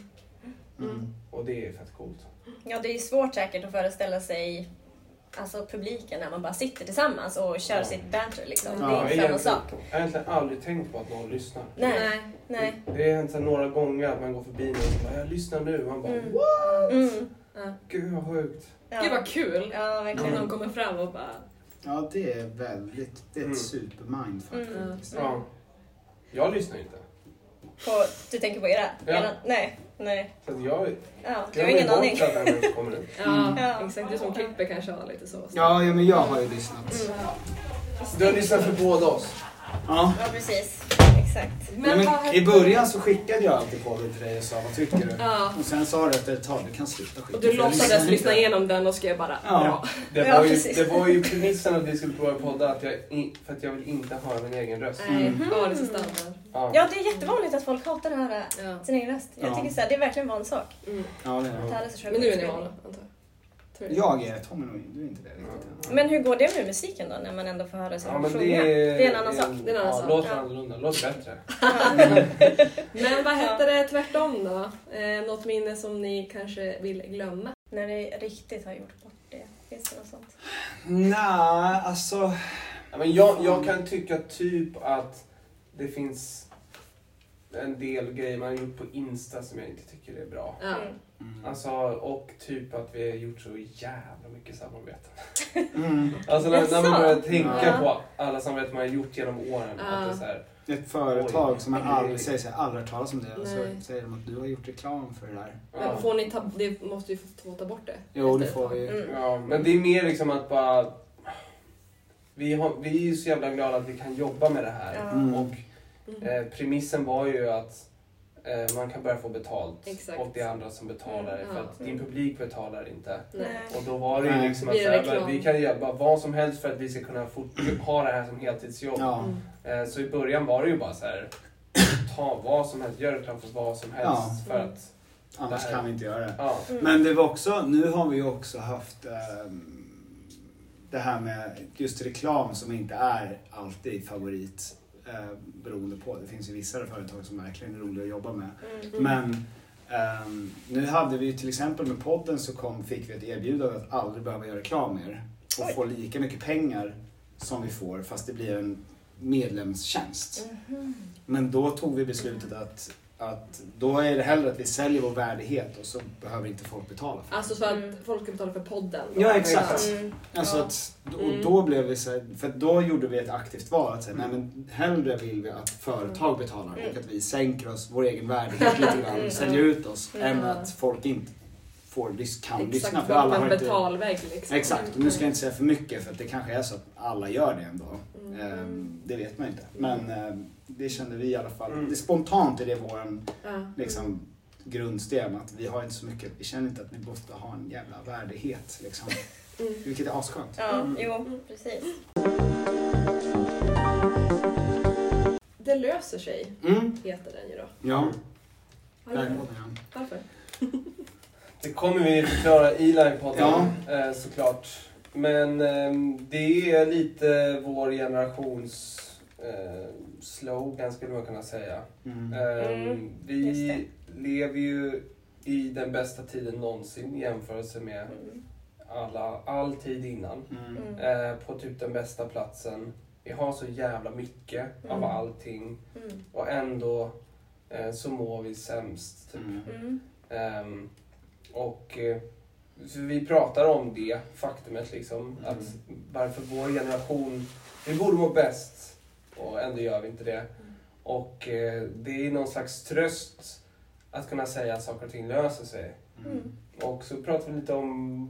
[SPEAKER 3] mm.
[SPEAKER 1] och det är fett coolt.
[SPEAKER 2] Ja, det är svårt säkert att föreställa sig alltså, publiken när man bara sitter tillsammans och kör
[SPEAKER 1] Ja.
[SPEAKER 2] sitt banter. Liksom.
[SPEAKER 4] Ja,
[SPEAKER 2] det är
[SPEAKER 1] jag,
[SPEAKER 2] inte
[SPEAKER 1] har
[SPEAKER 2] samma sak.
[SPEAKER 1] egentligen- jag har egentligen aldrig tänkt på att någon lyssnar.
[SPEAKER 2] Nej. Nej.
[SPEAKER 1] Det har hänt så här några gånger att man går förbi någon och bara “jag lyssnar nu” och man bara
[SPEAKER 2] Mm.
[SPEAKER 1] “what?
[SPEAKER 2] Mm.
[SPEAKER 4] Ja.
[SPEAKER 1] Gud vad sjukt”.
[SPEAKER 2] Ja.
[SPEAKER 4] Gud vad kul
[SPEAKER 2] Ja,
[SPEAKER 4] om
[SPEAKER 2] verkligen.
[SPEAKER 4] någon kommer fram och bara...
[SPEAKER 3] Ja, det är väldigt, det är ett
[SPEAKER 1] Mm.
[SPEAKER 3] supermindfuck
[SPEAKER 2] Mm.
[SPEAKER 3] faktiskt.
[SPEAKER 1] Ja. Jag lyssnar inte.
[SPEAKER 2] På, du tänker på era?
[SPEAKER 1] Ja.
[SPEAKER 2] Era- Nej. Nej.
[SPEAKER 1] Så att jag
[SPEAKER 2] Ja, du har
[SPEAKER 1] glömmer
[SPEAKER 2] ingen
[SPEAKER 1] bort
[SPEAKER 2] aning.
[SPEAKER 1] att den människan kommer ut.
[SPEAKER 4] Ja,
[SPEAKER 2] Ja.
[SPEAKER 4] exakt. Du som klipper kanske har lite så.
[SPEAKER 3] Mm. Ja, ja, men jag har ju
[SPEAKER 4] Mm.
[SPEAKER 3] lyssnat.
[SPEAKER 1] Du har lyssnat för båda oss.
[SPEAKER 3] Ja.
[SPEAKER 2] Ja, precis. Exakt.
[SPEAKER 3] Men,
[SPEAKER 4] vad hette-
[SPEAKER 3] I början så skickade jag alltid på det till dig och sa vad tycker du?
[SPEAKER 4] Ja.
[SPEAKER 3] Och sen sa du efter ett tag, du kan sluta skicka.
[SPEAKER 4] Och du
[SPEAKER 3] för jag lyssnar
[SPEAKER 4] låtsades
[SPEAKER 3] inte."
[SPEAKER 4] lyssna igenom den och skrev bara
[SPEAKER 3] Ja.
[SPEAKER 4] bra.
[SPEAKER 1] Det
[SPEAKER 2] Ja,
[SPEAKER 1] var, ju,
[SPEAKER 2] precis.
[SPEAKER 1] det var ju premissen att vi skulle prova att podda att jag in, för att jag vill inte höra min egen röst.
[SPEAKER 4] Nej,
[SPEAKER 3] Mm.
[SPEAKER 4] ja, det är så standard.
[SPEAKER 1] Ja.
[SPEAKER 2] Ja, det är jättevanligt att folk hatar att höra
[SPEAKER 4] Ja.
[SPEAKER 2] sin egen röst. Jag
[SPEAKER 3] Ja.
[SPEAKER 2] tycker så här, det är verkligen en van sak.
[SPEAKER 4] Mm.
[SPEAKER 3] Ja, det
[SPEAKER 2] Att
[SPEAKER 3] är
[SPEAKER 2] höra sig själv
[SPEAKER 4] Men nu är ni
[SPEAKER 2] på
[SPEAKER 4] vana,
[SPEAKER 2] inspelning.
[SPEAKER 4] antar jag. Tror jag.
[SPEAKER 3] jag. är Tommy nog, du är inte det riktigt än.
[SPEAKER 2] Men hur går det med musiken då, när man ändå får höra sig
[SPEAKER 1] Ja,
[SPEAKER 2] själv
[SPEAKER 1] men
[SPEAKER 2] sjunga?
[SPEAKER 1] det, är,
[SPEAKER 2] det är en annan sak.
[SPEAKER 4] Det är en annan
[SPEAKER 1] ja,
[SPEAKER 4] sak.
[SPEAKER 1] Låter
[SPEAKER 2] Ja.
[SPEAKER 1] annorlunda, låter bättre.
[SPEAKER 4] Men vad hette det tvärtom då? Eh, något minne som ni kanske vill glömma?
[SPEAKER 2] När det riktigt har gjort bort det. Finns det något sånt?
[SPEAKER 3] Nej, alltså.
[SPEAKER 1] Ja, men jag, jag kan tycka typ att det finns en del grejer man har gjort på Insta som jag inte tycker är bra.
[SPEAKER 4] Ja.
[SPEAKER 2] Mm.
[SPEAKER 3] Mm.
[SPEAKER 1] Alltså, och typ att vi har gjort så jävla mycket samarbeten.
[SPEAKER 3] Mm.
[SPEAKER 1] Alltså när, när
[SPEAKER 2] Jaså?
[SPEAKER 1] man börjar tänka
[SPEAKER 2] Ja.
[SPEAKER 1] på alla samarbeten man har gjort genom åren.
[SPEAKER 4] Ja.
[SPEAKER 1] Att det är så här,
[SPEAKER 3] Ett företag
[SPEAKER 1] Oj.
[SPEAKER 3] som man aldrig säger sig aldrig hört talas om det. Och så
[SPEAKER 4] Nej.
[SPEAKER 3] säger de att du har gjort reklam för det där.
[SPEAKER 4] Men
[SPEAKER 1] ja.
[SPEAKER 4] får ni ta, det måste ju få ta bort det.
[SPEAKER 3] Jo, det
[SPEAKER 4] Efter ett
[SPEAKER 3] får
[SPEAKER 4] tag.
[SPEAKER 3] vi.
[SPEAKER 2] Mm.
[SPEAKER 1] Ja, men det är mer liksom att bara... Vi, har, vi är ju så jävla glada att vi kan jobba med det här.
[SPEAKER 2] Ja.
[SPEAKER 3] Mm.
[SPEAKER 1] Och
[SPEAKER 4] Mm.
[SPEAKER 1] eh, premissen var ju att eh, man kan börja få betalt
[SPEAKER 4] Exakt.
[SPEAKER 1] och det är andra som betalar.
[SPEAKER 4] Mm,
[SPEAKER 1] För
[SPEAKER 4] ja.
[SPEAKER 1] att din publik betalar inte.
[SPEAKER 2] Mm.
[SPEAKER 4] Nej.
[SPEAKER 1] Och då var det ju
[SPEAKER 3] Nej.
[SPEAKER 1] liksom att
[SPEAKER 4] Blir det
[SPEAKER 1] så här,
[SPEAKER 4] reklam?
[SPEAKER 1] vi kan jobba vad som helst för att vi ska kunna fort, ha det här som heltidsjobb.
[SPEAKER 3] Ja.
[SPEAKER 4] Mm.
[SPEAKER 1] Eh, så i början var det ju bara så här, ta vad som helst, gör reklam för vad som helst.
[SPEAKER 3] Ja.
[SPEAKER 1] För att,
[SPEAKER 3] Annars
[SPEAKER 1] Där.
[SPEAKER 3] kan vi inte göra det.
[SPEAKER 1] ja.
[SPEAKER 2] Mm.
[SPEAKER 3] Men det var också, nu har vi ju också haft ehm, det här med just reklam som inte är alltid favorit eh, beroende på. Det finns ju vissa företag som verkligen är roliga att jobba med.
[SPEAKER 2] Mm.
[SPEAKER 4] Mm.
[SPEAKER 3] Men ehm, nu hade vi ju till exempel med podden så kom, fick vi ett erbjudande att aldrig behöva göra reklam mer och
[SPEAKER 2] Oj.
[SPEAKER 3] få lika mycket pengar som vi får fast det blir en medlemstjänst.
[SPEAKER 2] Mhm.
[SPEAKER 3] Men då tog vi beslutet att, att då är det hellre att vi säljer vår värdighet och så behöver inte folk betala för det.
[SPEAKER 4] Alltså så att
[SPEAKER 2] Mm.
[SPEAKER 4] folk ska betala för podden.
[SPEAKER 3] Ja, exakt.
[SPEAKER 2] Mm.
[SPEAKER 3] Alltså
[SPEAKER 2] Ja.
[SPEAKER 3] att,
[SPEAKER 4] Mm.
[SPEAKER 3] och då blev vi så här, för då gjorde vi ett aktivt val att säga,
[SPEAKER 1] Mm.
[SPEAKER 3] nej men hellre vill vi att företag betalar
[SPEAKER 2] Mm.
[SPEAKER 3] och att vi sänker oss, vår egen värdighet lite grann
[SPEAKER 2] Mm.
[SPEAKER 3] och säljer ut oss
[SPEAKER 2] Mm.
[SPEAKER 3] än att folk inte får, lys- kan lyssna.
[SPEAKER 4] Exakt,
[SPEAKER 3] För
[SPEAKER 4] folk
[SPEAKER 3] alla
[SPEAKER 4] har en
[SPEAKER 3] har inte,
[SPEAKER 4] betalvägg liksom.
[SPEAKER 3] exakt, och nu ska jag inte säga för mycket för att det kanske är så att alla gör det en dag.
[SPEAKER 4] Mm.
[SPEAKER 3] Ehm, Det vet man ju inte. Men ehm, det kände vi i alla fall.
[SPEAKER 1] Mm.
[SPEAKER 3] Det spontant är det våran
[SPEAKER 4] Ja. Mm.
[SPEAKER 3] liksom, grundsten. Att vi har inte så mycket, vi känner inte att vi måste ha en jävla värdighet. Liksom.
[SPEAKER 4] Mm.
[SPEAKER 3] Vilket är asskönt.
[SPEAKER 2] Ja,
[SPEAKER 4] Mm.
[SPEAKER 2] jo, precis.
[SPEAKER 4] Det löser sig,
[SPEAKER 3] Mm.
[SPEAKER 4] heter den ju då.
[SPEAKER 3] Ja, där
[SPEAKER 4] Varför?
[SPEAKER 3] kom den.
[SPEAKER 4] Varför?
[SPEAKER 1] Det kommer vi förklara i livepodden
[SPEAKER 3] Ja.
[SPEAKER 1] eh, såklart. Men eh, det är lite vår generations eh, slogan skulle man kunna säga.
[SPEAKER 3] Mm.
[SPEAKER 1] Eh,
[SPEAKER 2] Mm, just
[SPEAKER 1] Vi lever ju i den bästa tiden någonsin i jämförelse med
[SPEAKER 2] Mm.
[SPEAKER 1] alla, all tid innan.
[SPEAKER 3] Mm.
[SPEAKER 2] Mm.
[SPEAKER 1] Eh, på typ den bästa platsen. Vi har så jävla mycket av
[SPEAKER 2] Mm.
[SPEAKER 1] allting
[SPEAKER 2] Mm.
[SPEAKER 1] och ändå eh, så mår vi sämst. Typ.
[SPEAKER 3] Mm.
[SPEAKER 2] Mm.
[SPEAKER 1] Ehm, och eh, så vi pratar om det faktumet liksom.
[SPEAKER 3] Mm.
[SPEAKER 1] Att varför vår generation, vi borde må bäst och ändå gör vi inte det.
[SPEAKER 3] Mm.
[SPEAKER 1] Och eh, det är någon slags tröst att kunna säga att saker och ting löser sig.
[SPEAKER 2] Mm.
[SPEAKER 1] Och så pratar vi lite om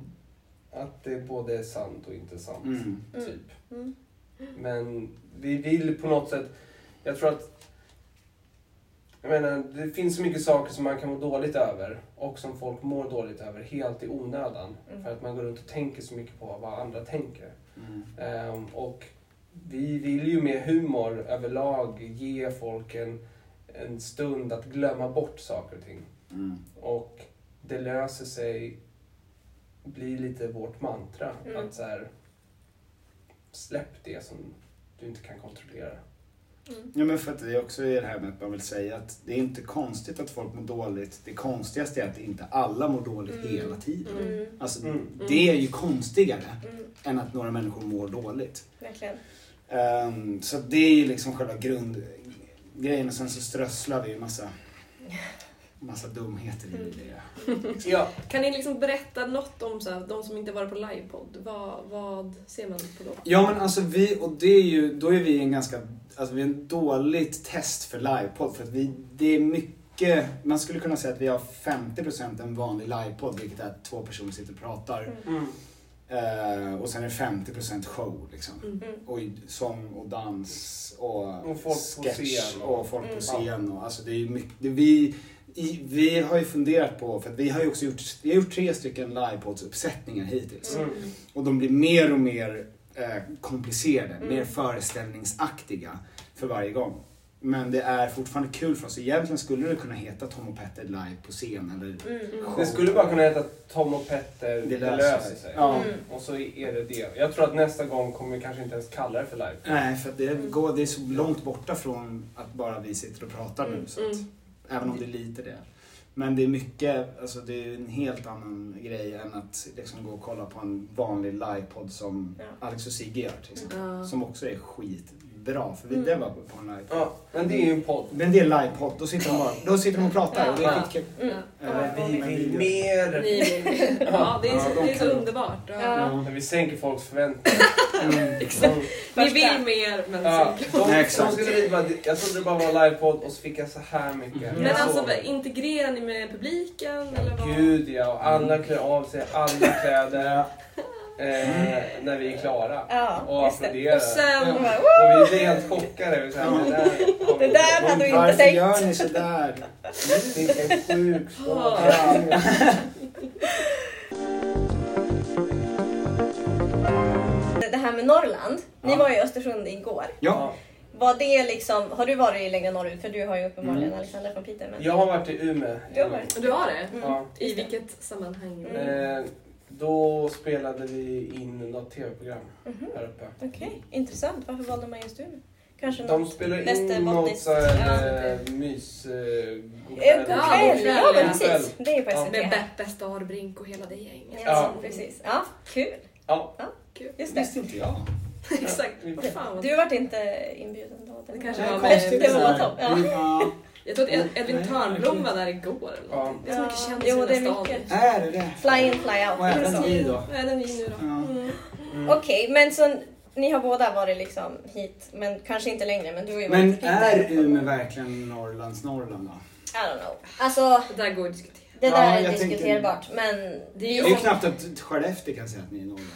[SPEAKER 1] att det både är sant och inte sant.
[SPEAKER 3] Mm.
[SPEAKER 1] Typ.
[SPEAKER 2] Mm.
[SPEAKER 1] Men vi vill på något sätt... Jag tror att... Jag menar, det finns så mycket saker som man kan må dåligt över och som folk mår dåligt över helt i onödan.
[SPEAKER 2] Mm.
[SPEAKER 1] För att man går runt och tänker så mycket på vad andra tänker.
[SPEAKER 3] Mm.
[SPEAKER 1] Ehm, och vi vill ju med humor överlag ge folk en, en stund att glömma bort saker och ting.
[SPEAKER 3] Mm.
[SPEAKER 1] Och det löser sig, blir lite vårt mantra.
[SPEAKER 2] Mm.
[SPEAKER 1] Att så här, släpp det som du inte kan kontrollera.
[SPEAKER 2] Mm.
[SPEAKER 3] Ja, men för att det också är det här med att man vill säga att det är inte konstigt att folk mår dåligt. Det konstigaste är att inte alla mår dåligt
[SPEAKER 4] Mm.
[SPEAKER 3] hela tiden.
[SPEAKER 2] Mm.
[SPEAKER 3] Alltså,
[SPEAKER 1] Mm.
[SPEAKER 3] det är ju konstigare
[SPEAKER 2] Mm.
[SPEAKER 3] än att några människor mår dåligt.
[SPEAKER 2] Verkligen.
[SPEAKER 3] Ehm, så det är ju liksom själva grundgrejen och sen så strösslar vi ju massa, massa dumheter i det.
[SPEAKER 1] Ja,
[SPEAKER 4] Kan ni liksom berätta något om så här, de som inte varit på livepodd? Vad, vad ser man på dem?
[SPEAKER 3] Ja men alltså vi, och det är ju, då är vi en ganska, alltså vi är en dåligt test för livepodd för att vi, det är mycket, man skulle kunna säga att vi har 50% en vanlig livepodd vilket är att två personer sitter och pratar.
[SPEAKER 1] mm.
[SPEAKER 3] Ehm, och sen är det 50% show liksom.
[SPEAKER 4] Mm.
[SPEAKER 2] Mm.
[SPEAKER 3] Och i- sång och dans och,
[SPEAKER 1] Och folk på
[SPEAKER 3] sketch
[SPEAKER 1] scen och-
[SPEAKER 3] och folk på
[SPEAKER 2] Mm.
[SPEAKER 3] scen. Och, alltså det är ju mycket, det, vi, i, vi har ju funderat på, för att vi har ju också gjort, vi har gjort tre stycken livepoddsuppsättningar hittills.
[SPEAKER 1] Mm.
[SPEAKER 3] Och de blir mer och mer eh, komplicerade,
[SPEAKER 4] Mm.
[SPEAKER 3] mer föreställningsaktiga för varje gång. Men det är fortfarande kul för oss. Egentligen skulle det kunna heta Tom och Petter live på scen eller
[SPEAKER 2] Mm.
[SPEAKER 3] show.
[SPEAKER 1] Det skulle bara kunna heta Tom och Petter, det, löser sig.
[SPEAKER 3] Ja.
[SPEAKER 2] Mm.
[SPEAKER 1] Och så är det det. Jag tror att nästa gång kommer vi kanske inte ens kalla det för live.
[SPEAKER 3] Nej, för att det, går, det är så långt borta från att bara vi sitter och pratar nu.
[SPEAKER 2] Mm,
[SPEAKER 3] Så att,
[SPEAKER 4] mm.
[SPEAKER 3] Även om det är lite det. Men det är mycket, alltså det är en helt annan grej än att liksom gå och kolla på en vanlig livepodd som
[SPEAKER 2] Ja.
[SPEAKER 3] Alex och Sigge gör till exempel.
[SPEAKER 4] Ja.
[SPEAKER 3] Som också är skitbra, för vi
[SPEAKER 2] Mm.
[SPEAKER 3] det var på en livepodd.
[SPEAKER 1] Ja, men det är ju en podd.
[SPEAKER 3] Men det är livepodd, då sitter de bara, då sitter de och pratar och det är
[SPEAKER 1] Ja.
[SPEAKER 3] skitkul.
[SPEAKER 2] Mm.
[SPEAKER 3] Eller
[SPEAKER 2] Ja.
[SPEAKER 3] vi med video.
[SPEAKER 1] mer!
[SPEAKER 4] Ni vill. Ja, det är så, det är så underbart. Ja.
[SPEAKER 2] Ja.
[SPEAKER 1] När vi sänker folks förväntningar.
[SPEAKER 3] Mm.
[SPEAKER 1] Mm.
[SPEAKER 4] Ni vill mer, men
[SPEAKER 1] Ja,
[SPEAKER 4] så-
[SPEAKER 1] de,
[SPEAKER 3] Nej,
[SPEAKER 1] de
[SPEAKER 3] exakt.
[SPEAKER 1] skulle vi bara, jag trodde det bara var livepodd och så fick jag så här mycket.
[SPEAKER 3] Mhm.
[SPEAKER 1] Jag
[SPEAKER 4] Men alltså,
[SPEAKER 1] såg.
[SPEAKER 4] vad- integrerar ni med publiken? Eller vad?
[SPEAKER 1] Gud ja, och alla klär av sig alla kläder eh, när vi är klara. Och
[SPEAKER 2] Ja, just det.
[SPEAKER 1] applåderar.
[SPEAKER 4] Och sen...
[SPEAKER 2] Bara, "Woo!"
[SPEAKER 1] Och vi blir helt chockade. Vi säger, det där, har vi
[SPEAKER 2] Det där
[SPEAKER 1] inte-
[SPEAKER 2] hade vi inte
[SPEAKER 3] Varför
[SPEAKER 2] tänkt.
[SPEAKER 3] gör ni sådär?
[SPEAKER 1] Vilken sjuk sak.
[SPEAKER 3] Ja.
[SPEAKER 2] Det här med Norrland. Ni
[SPEAKER 3] Ja.
[SPEAKER 2] var i Östersund igår.
[SPEAKER 3] Ja.
[SPEAKER 2] Var det liksom, har du varit längre norrut? För du har ju uppenbarligen
[SPEAKER 3] Mm.
[SPEAKER 2] Alexandra från Piteå. Men...
[SPEAKER 1] Jag har varit i Umeå.
[SPEAKER 2] Du har varit.
[SPEAKER 4] Du har det?
[SPEAKER 2] Mm.
[SPEAKER 1] Ja.
[SPEAKER 4] I vilket sammanhang?
[SPEAKER 2] Mm.
[SPEAKER 1] Eh, då spelade vi in något tv-program
[SPEAKER 2] Mhm.
[SPEAKER 1] här uppe.
[SPEAKER 2] Okej, intressant. Varför valde man just du? Kanske
[SPEAKER 1] De
[SPEAKER 2] något...
[SPEAKER 1] spelade in något
[SPEAKER 2] Västerbottniskt.
[SPEAKER 1] så här, eh, mys... Eh,
[SPEAKER 2] Eh, god
[SPEAKER 4] Ja,
[SPEAKER 2] kväll. Ja, men precis.
[SPEAKER 1] Kväll.
[SPEAKER 2] Det är ju på
[SPEAKER 1] Ja.
[SPEAKER 2] SVT.
[SPEAKER 4] Med Beppe Starbrink och hela det gänget.
[SPEAKER 2] Ja,
[SPEAKER 1] Ja.
[SPEAKER 2] precis. Ja, kul.
[SPEAKER 1] Ja.
[SPEAKER 4] Kul.
[SPEAKER 2] Just
[SPEAKER 3] Det
[SPEAKER 2] det.
[SPEAKER 3] visste inte jag.
[SPEAKER 4] Exakt. Vad fan.
[SPEAKER 2] Du vart inte inbjuden då?
[SPEAKER 4] Det kanske
[SPEAKER 2] var
[SPEAKER 4] var
[SPEAKER 2] konstigt. Det
[SPEAKER 4] med-
[SPEAKER 2] var topp.
[SPEAKER 3] Mm.
[SPEAKER 2] Ja.
[SPEAKER 3] Ja.
[SPEAKER 4] Jag tror att Ed- Edvin
[SPEAKER 3] Nej,
[SPEAKER 4] Törnblom
[SPEAKER 3] okej.
[SPEAKER 4] var där igår.
[SPEAKER 1] Ja.
[SPEAKER 4] Eller någonting. Det är så mycket
[SPEAKER 2] Ja.
[SPEAKER 4] kändisar
[SPEAKER 2] Jo,
[SPEAKER 4] i
[SPEAKER 2] det är
[SPEAKER 4] den här staden.
[SPEAKER 2] mycket.
[SPEAKER 3] Är det det?
[SPEAKER 2] Fly in, fly
[SPEAKER 3] Och
[SPEAKER 2] out.
[SPEAKER 3] även
[SPEAKER 2] liksom.
[SPEAKER 3] vi då?
[SPEAKER 4] Nej, den är ny nu då.
[SPEAKER 3] Ja.
[SPEAKER 4] Mm.
[SPEAKER 1] Mm.
[SPEAKER 2] Okej, men så ni har båda varit liksom hit, men kanske inte längre. Men du har ju varit
[SPEAKER 3] Men
[SPEAKER 2] hit
[SPEAKER 3] är
[SPEAKER 2] därifrån.
[SPEAKER 3] Umeå verkligen Norrlands Norrland då?
[SPEAKER 2] I don't know. Alltså,
[SPEAKER 4] Det där går att diskutera.
[SPEAKER 2] det
[SPEAKER 3] Ja,
[SPEAKER 2] där är
[SPEAKER 3] jag tänker-
[SPEAKER 2] diskuterbart. Men,
[SPEAKER 4] Det
[SPEAKER 3] Det
[SPEAKER 4] är
[SPEAKER 3] är ju
[SPEAKER 4] ju
[SPEAKER 3] knappt att Skellefteå kan säga att ni är Norrland.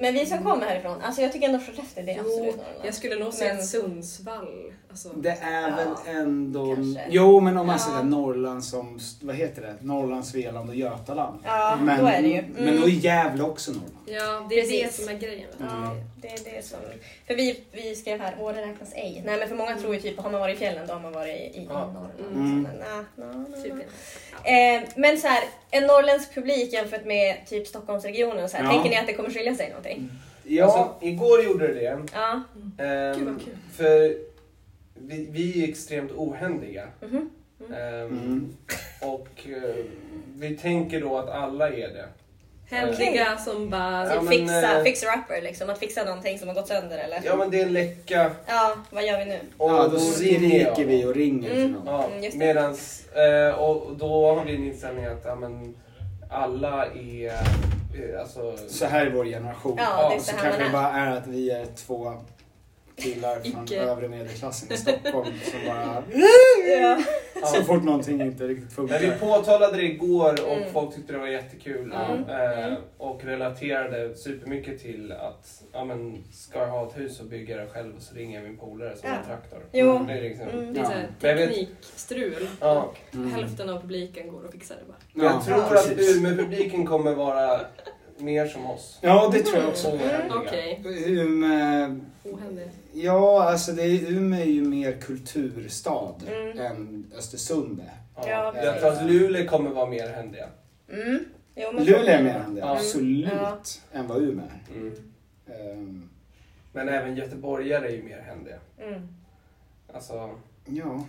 [SPEAKER 2] men vi som kommer härifrån, alltså jag tycker ändå Skellefteå det är
[SPEAKER 4] Jo,
[SPEAKER 2] absolut Norrland.
[SPEAKER 4] Jag skulle nog säga
[SPEAKER 2] Men-
[SPEAKER 4] att Sundsvall. Alltså,
[SPEAKER 3] Det är
[SPEAKER 2] Ja,
[SPEAKER 3] väl ändå...
[SPEAKER 2] kanske.
[SPEAKER 3] Jo, men om man
[SPEAKER 2] Ja.
[SPEAKER 3] säger Norrland som... Vad heter det? Norrland, Svealand och Götaland.
[SPEAKER 2] Ja,
[SPEAKER 3] men,
[SPEAKER 2] då är det ju. Mm.
[SPEAKER 3] Men då är Gävle också Norrland.
[SPEAKER 4] ja, det är det
[SPEAKER 2] Precis.
[SPEAKER 4] som är grejen. vet du.
[SPEAKER 2] Ja, det är det som... För vi, vi skrev här, Åre räknas ej. Nej men för många tror ju typ, har man varit i fjällen då har man varit i, i
[SPEAKER 1] Ja.
[SPEAKER 2] Norrland.
[SPEAKER 3] Mm.
[SPEAKER 2] Så, men, nej, nej, nej,
[SPEAKER 4] Typ.
[SPEAKER 2] nej. Eh, men så här, en norrländsk publik jämfört med typ Stockholmsregionen och så här,
[SPEAKER 3] Ja.
[SPEAKER 2] tänker ni att det kommer skilja sig någonting?
[SPEAKER 3] Ja,
[SPEAKER 1] Alltså, igår gjorde det det.
[SPEAKER 2] Ja.
[SPEAKER 1] Ehm,
[SPEAKER 4] Gud, vad kul.
[SPEAKER 1] För vi, vi är ju extremt ohändiga.
[SPEAKER 2] Mhm.
[SPEAKER 1] Ehm,
[SPEAKER 3] Mm.
[SPEAKER 1] Och eh, vi tänker då att alla är det.
[SPEAKER 4] Händiga som bara...
[SPEAKER 1] Ja,
[SPEAKER 2] typ
[SPEAKER 1] men,
[SPEAKER 2] fixa,
[SPEAKER 1] eh,
[SPEAKER 2] fixer upper liksom, att fixa någonting som har gått sönder eller?
[SPEAKER 1] Ja men det är en läcka
[SPEAKER 2] Ja, vad gör vi nu?
[SPEAKER 1] och
[SPEAKER 3] ja, då
[SPEAKER 1] ringer jag.
[SPEAKER 3] skriker vi och ringer
[SPEAKER 2] Mm.
[SPEAKER 3] för någon.
[SPEAKER 1] Ja,
[SPEAKER 2] Mm, just det.
[SPEAKER 1] medans, eh, och då har vi en inställning att ja, men, alla är... eh, Alltså,
[SPEAKER 3] Så här är vår generation.
[SPEAKER 2] Ja,
[SPEAKER 1] det är
[SPEAKER 3] så,
[SPEAKER 2] så här
[SPEAKER 3] kanske
[SPEAKER 2] man
[SPEAKER 3] det
[SPEAKER 2] är.
[SPEAKER 3] bara är att vi är två killar från
[SPEAKER 4] Icke.
[SPEAKER 3] övre medelklassen i Stockholm som bara...
[SPEAKER 2] Ja.
[SPEAKER 1] ja.
[SPEAKER 3] Så fort någonting inte riktigt
[SPEAKER 1] Men vi
[SPEAKER 3] funkar.
[SPEAKER 1] påtalade det igår och
[SPEAKER 2] Mm.
[SPEAKER 1] folk tyckte det var jättekul.
[SPEAKER 2] Mm.
[SPEAKER 1] Eh,
[SPEAKER 2] Mm.
[SPEAKER 1] Och relaterade supermycket till att ja, men, ska jag ha ett hus och bygga det själv så ringer jag min polare som har en
[SPEAKER 2] Ja.
[SPEAKER 1] traktor.
[SPEAKER 2] Jo.
[SPEAKER 1] Det är liksom,
[SPEAKER 2] Mm.
[SPEAKER 4] Det är
[SPEAKER 3] Ja.
[SPEAKER 4] så här
[SPEAKER 1] Men jag vet-
[SPEAKER 4] teknikstrul.
[SPEAKER 1] Ja.
[SPEAKER 4] Och
[SPEAKER 3] Mm.
[SPEAKER 4] Hälften av publiken går och fixar det bara.
[SPEAKER 1] Men jag tror att
[SPEAKER 3] precis.
[SPEAKER 1] Umeå-publiken kommer vara mer som oss. Mm.
[SPEAKER 3] Ja, det tror jag också.
[SPEAKER 4] Mm.
[SPEAKER 1] Ohändiga.
[SPEAKER 4] Okej,
[SPEAKER 3] Umeå,
[SPEAKER 4] ohändig.
[SPEAKER 3] ja, alltså det är, Umeå är ju mer kulturstad
[SPEAKER 2] Mm.
[SPEAKER 3] än Östersund är.
[SPEAKER 1] Ja.
[SPEAKER 2] Ja,
[SPEAKER 1] Jag tror att Luleå kommer vara mer händiga.
[SPEAKER 2] Mm. Jo, men-
[SPEAKER 3] Luleå är mer än det,
[SPEAKER 1] Ja.
[SPEAKER 3] absolut,
[SPEAKER 2] Ja.
[SPEAKER 3] än vad Umeå är.
[SPEAKER 1] Mm.
[SPEAKER 3] Ehm,
[SPEAKER 1] Men även göteborgare är ju mer händiga.
[SPEAKER 2] Mm.
[SPEAKER 1] Alltså,
[SPEAKER 3] ja.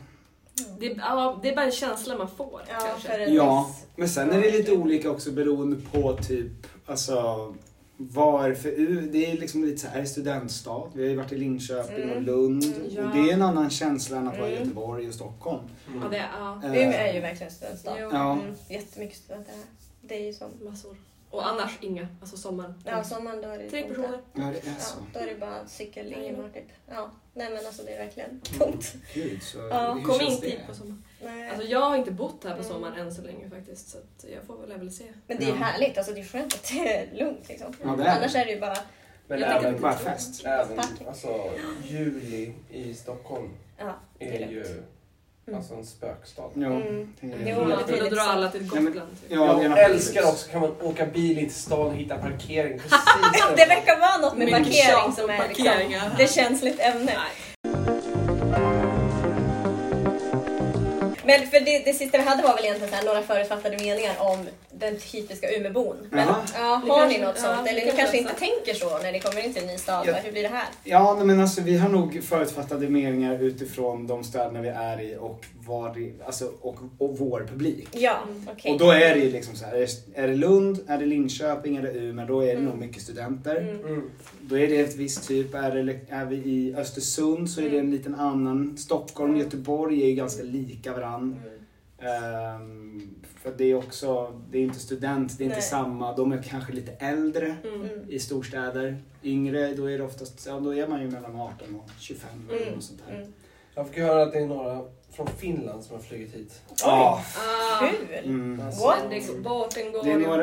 [SPEAKER 4] Det, är- ja, det är bara en känsla man får
[SPEAKER 2] Ja,
[SPEAKER 4] kanske.
[SPEAKER 2] för en
[SPEAKER 3] ja,
[SPEAKER 2] viss-
[SPEAKER 3] men sen är det lite olika också beroende på typ, alltså vad är det för U? Det är liksom lite så här, är det studentstad? Vi har ju varit i Linköping och
[SPEAKER 2] Mm.
[SPEAKER 3] Lund.
[SPEAKER 2] Mm,
[SPEAKER 4] ja.
[SPEAKER 3] Och det är en annan känsla än att vara i
[SPEAKER 2] Mm.
[SPEAKER 3] Göteborg och Stockholm.
[SPEAKER 1] mm.
[SPEAKER 4] Ja, det är, ja,
[SPEAKER 2] Umeå
[SPEAKER 3] Ehm,
[SPEAKER 2] är ju verkligen en studentstad.
[SPEAKER 4] Jo.
[SPEAKER 3] Ja.
[SPEAKER 2] Mm. Jättemycket studenter här. Det är ju som...
[SPEAKER 4] massor. Och annars inga, alltså sommaren.
[SPEAKER 3] Mm.
[SPEAKER 2] Ja, sommaren då är det
[SPEAKER 4] Tre
[SPEAKER 2] tomt
[SPEAKER 4] personer.
[SPEAKER 2] här.
[SPEAKER 3] Ja, det är
[SPEAKER 2] Ja,
[SPEAKER 3] så.
[SPEAKER 2] då är det bara cykel, ingen
[SPEAKER 4] Nej.
[SPEAKER 2] mer typ. Ja, nej men alltså det är
[SPEAKER 3] Mm.
[SPEAKER 2] verkligen tomt.
[SPEAKER 3] Gud, så
[SPEAKER 2] Ja, typ
[SPEAKER 3] hur
[SPEAKER 4] Kom
[SPEAKER 3] känns
[SPEAKER 4] inte
[SPEAKER 3] det?
[SPEAKER 4] hit på sommaren.
[SPEAKER 2] Nej.
[SPEAKER 4] Alltså jag har inte bott här på
[SPEAKER 2] Eh. Mm.
[SPEAKER 4] sommaren än så länge faktiskt. Så att jag får väl, väl se.
[SPEAKER 2] men det är ju
[SPEAKER 3] Ja.
[SPEAKER 2] härligt, alltså det är skönt att det är lugnt liksom.
[SPEAKER 3] Ja, det är
[SPEAKER 2] Annars är det ju bara...
[SPEAKER 1] Men
[SPEAKER 4] Jag
[SPEAKER 3] det.
[SPEAKER 4] tänkte
[SPEAKER 1] även,
[SPEAKER 3] är Bara fest.
[SPEAKER 1] även
[SPEAKER 2] Tack.
[SPEAKER 1] alltså, juli i Stockholm
[SPEAKER 2] Ja, det
[SPEAKER 1] är
[SPEAKER 2] är lugnt.
[SPEAKER 1] ju alltså, en spökstad.
[SPEAKER 3] Jo,
[SPEAKER 2] Mm.
[SPEAKER 3] tänker
[SPEAKER 2] Jo, men
[SPEAKER 3] jag.
[SPEAKER 4] Man
[SPEAKER 2] det är
[SPEAKER 4] kunde
[SPEAKER 2] lite
[SPEAKER 4] dra
[SPEAKER 2] så.
[SPEAKER 4] alla till
[SPEAKER 3] Nej, men-
[SPEAKER 4] Gotland. Typ.
[SPEAKER 3] Ja, gärna
[SPEAKER 1] jag älskar
[SPEAKER 3] precis.
[SPEAKER 1] också kan man åka bil in till stan och hitta parkering precis
[SPEAKER 2] Alltså, Det verkar vara något med
[SPEAKER 4] Mycket
[SPEAKER 2] parkering
[SPEAKER 4] tjat
[SPEAKER 2] som
[SPEAKER 4] om
[SPEAKER 2] är liksom,
[SPEAKER 4] parkeringar.
[SPEAKER 2] det är känsligt ämne.
[SPEAKER 4] Nej.
[SPEAKER 2] Men för det, det sista vi hade var väl egentligen så här, några förutfattade meningar om den typiska Umebon. Men
[SPEAKER 3] Jaha.
[SPEAKER 2] ja,
[SPEAKER 4] Ni
[SPEAKER 2] har ni
[SPEAKER 4] kanske-
[SPEAKER 2] något
[SPEAKER 4] ja,
[SPEAKER 2] sånt?
[SPEAKER 4] vi
[SPEAKER 2] Eller ni
[SPEAKER 4] kan
[SPEAKER 2] kanske
[SPEAKER 4] lösa.
[SPEAKER 2] inte tänker så när ni kommer in till en ny stad?
[SPEAKER 3] Ja.
[SPEAKER 2] Hur blir det här?
[SPEAKER 3] Ja, nej, men alltså vi har nog förutfattade meningar utifrån de städerna vi är i och, var, det- alltså, och, och vår publik.
[SPEAKER 2] Ja, okej.
[SPEAKER 3] Och då är det ju liksom så här, är det- är det Lund, är det Linköping, är det Umeå, då är det
[SPEAKER 2] Mm.
[SPEAKER 3] nog mycket studenter.
[SPEAKER 2] Mm.
[SPEAKER 1] Mm.
[SPEAKER 3] Då är det ett visst typ, är, det, är vi i Östersund så är det en liten annan. Stockholm,
[SPEAKER 2] Mm.
[SPEAKER 3] Göteborg är ju ganska lika varann.
[SPEAKER 2] Mm.
[SPEAKER 3] Ehm, för det är också, det är inte student, det är inte
[SPEAKER 2] Nej.
[SPEAKER 3] samma, de är kanske lite äldre
[SPEAKER 4] Mm.
[SPEAKER 2] Mm.
[SPEAKER 3] i storstäder. Yngre, då är det oftast, ja då är man ju mellan 18 och 25 eller
[SPEAKER 2] Mm.
[SPEAKER 3] något sånt där.
[SPEAKER 2] Mm.
[SPEAKER 1] Jag fick höra att det är några från Finland som har flugit hit.
[SPEAKER 3] Ja.
[SPEAKER 4] Ah,
[SPEAKER 2] Kul!
[SPEAKER 3] Mm.
[SPEAKER 1] Alltså,
[SPEAKER 2] What?
[SPEAKER 4] men det går bort en gång.
[SPEAKER 3] Det är några-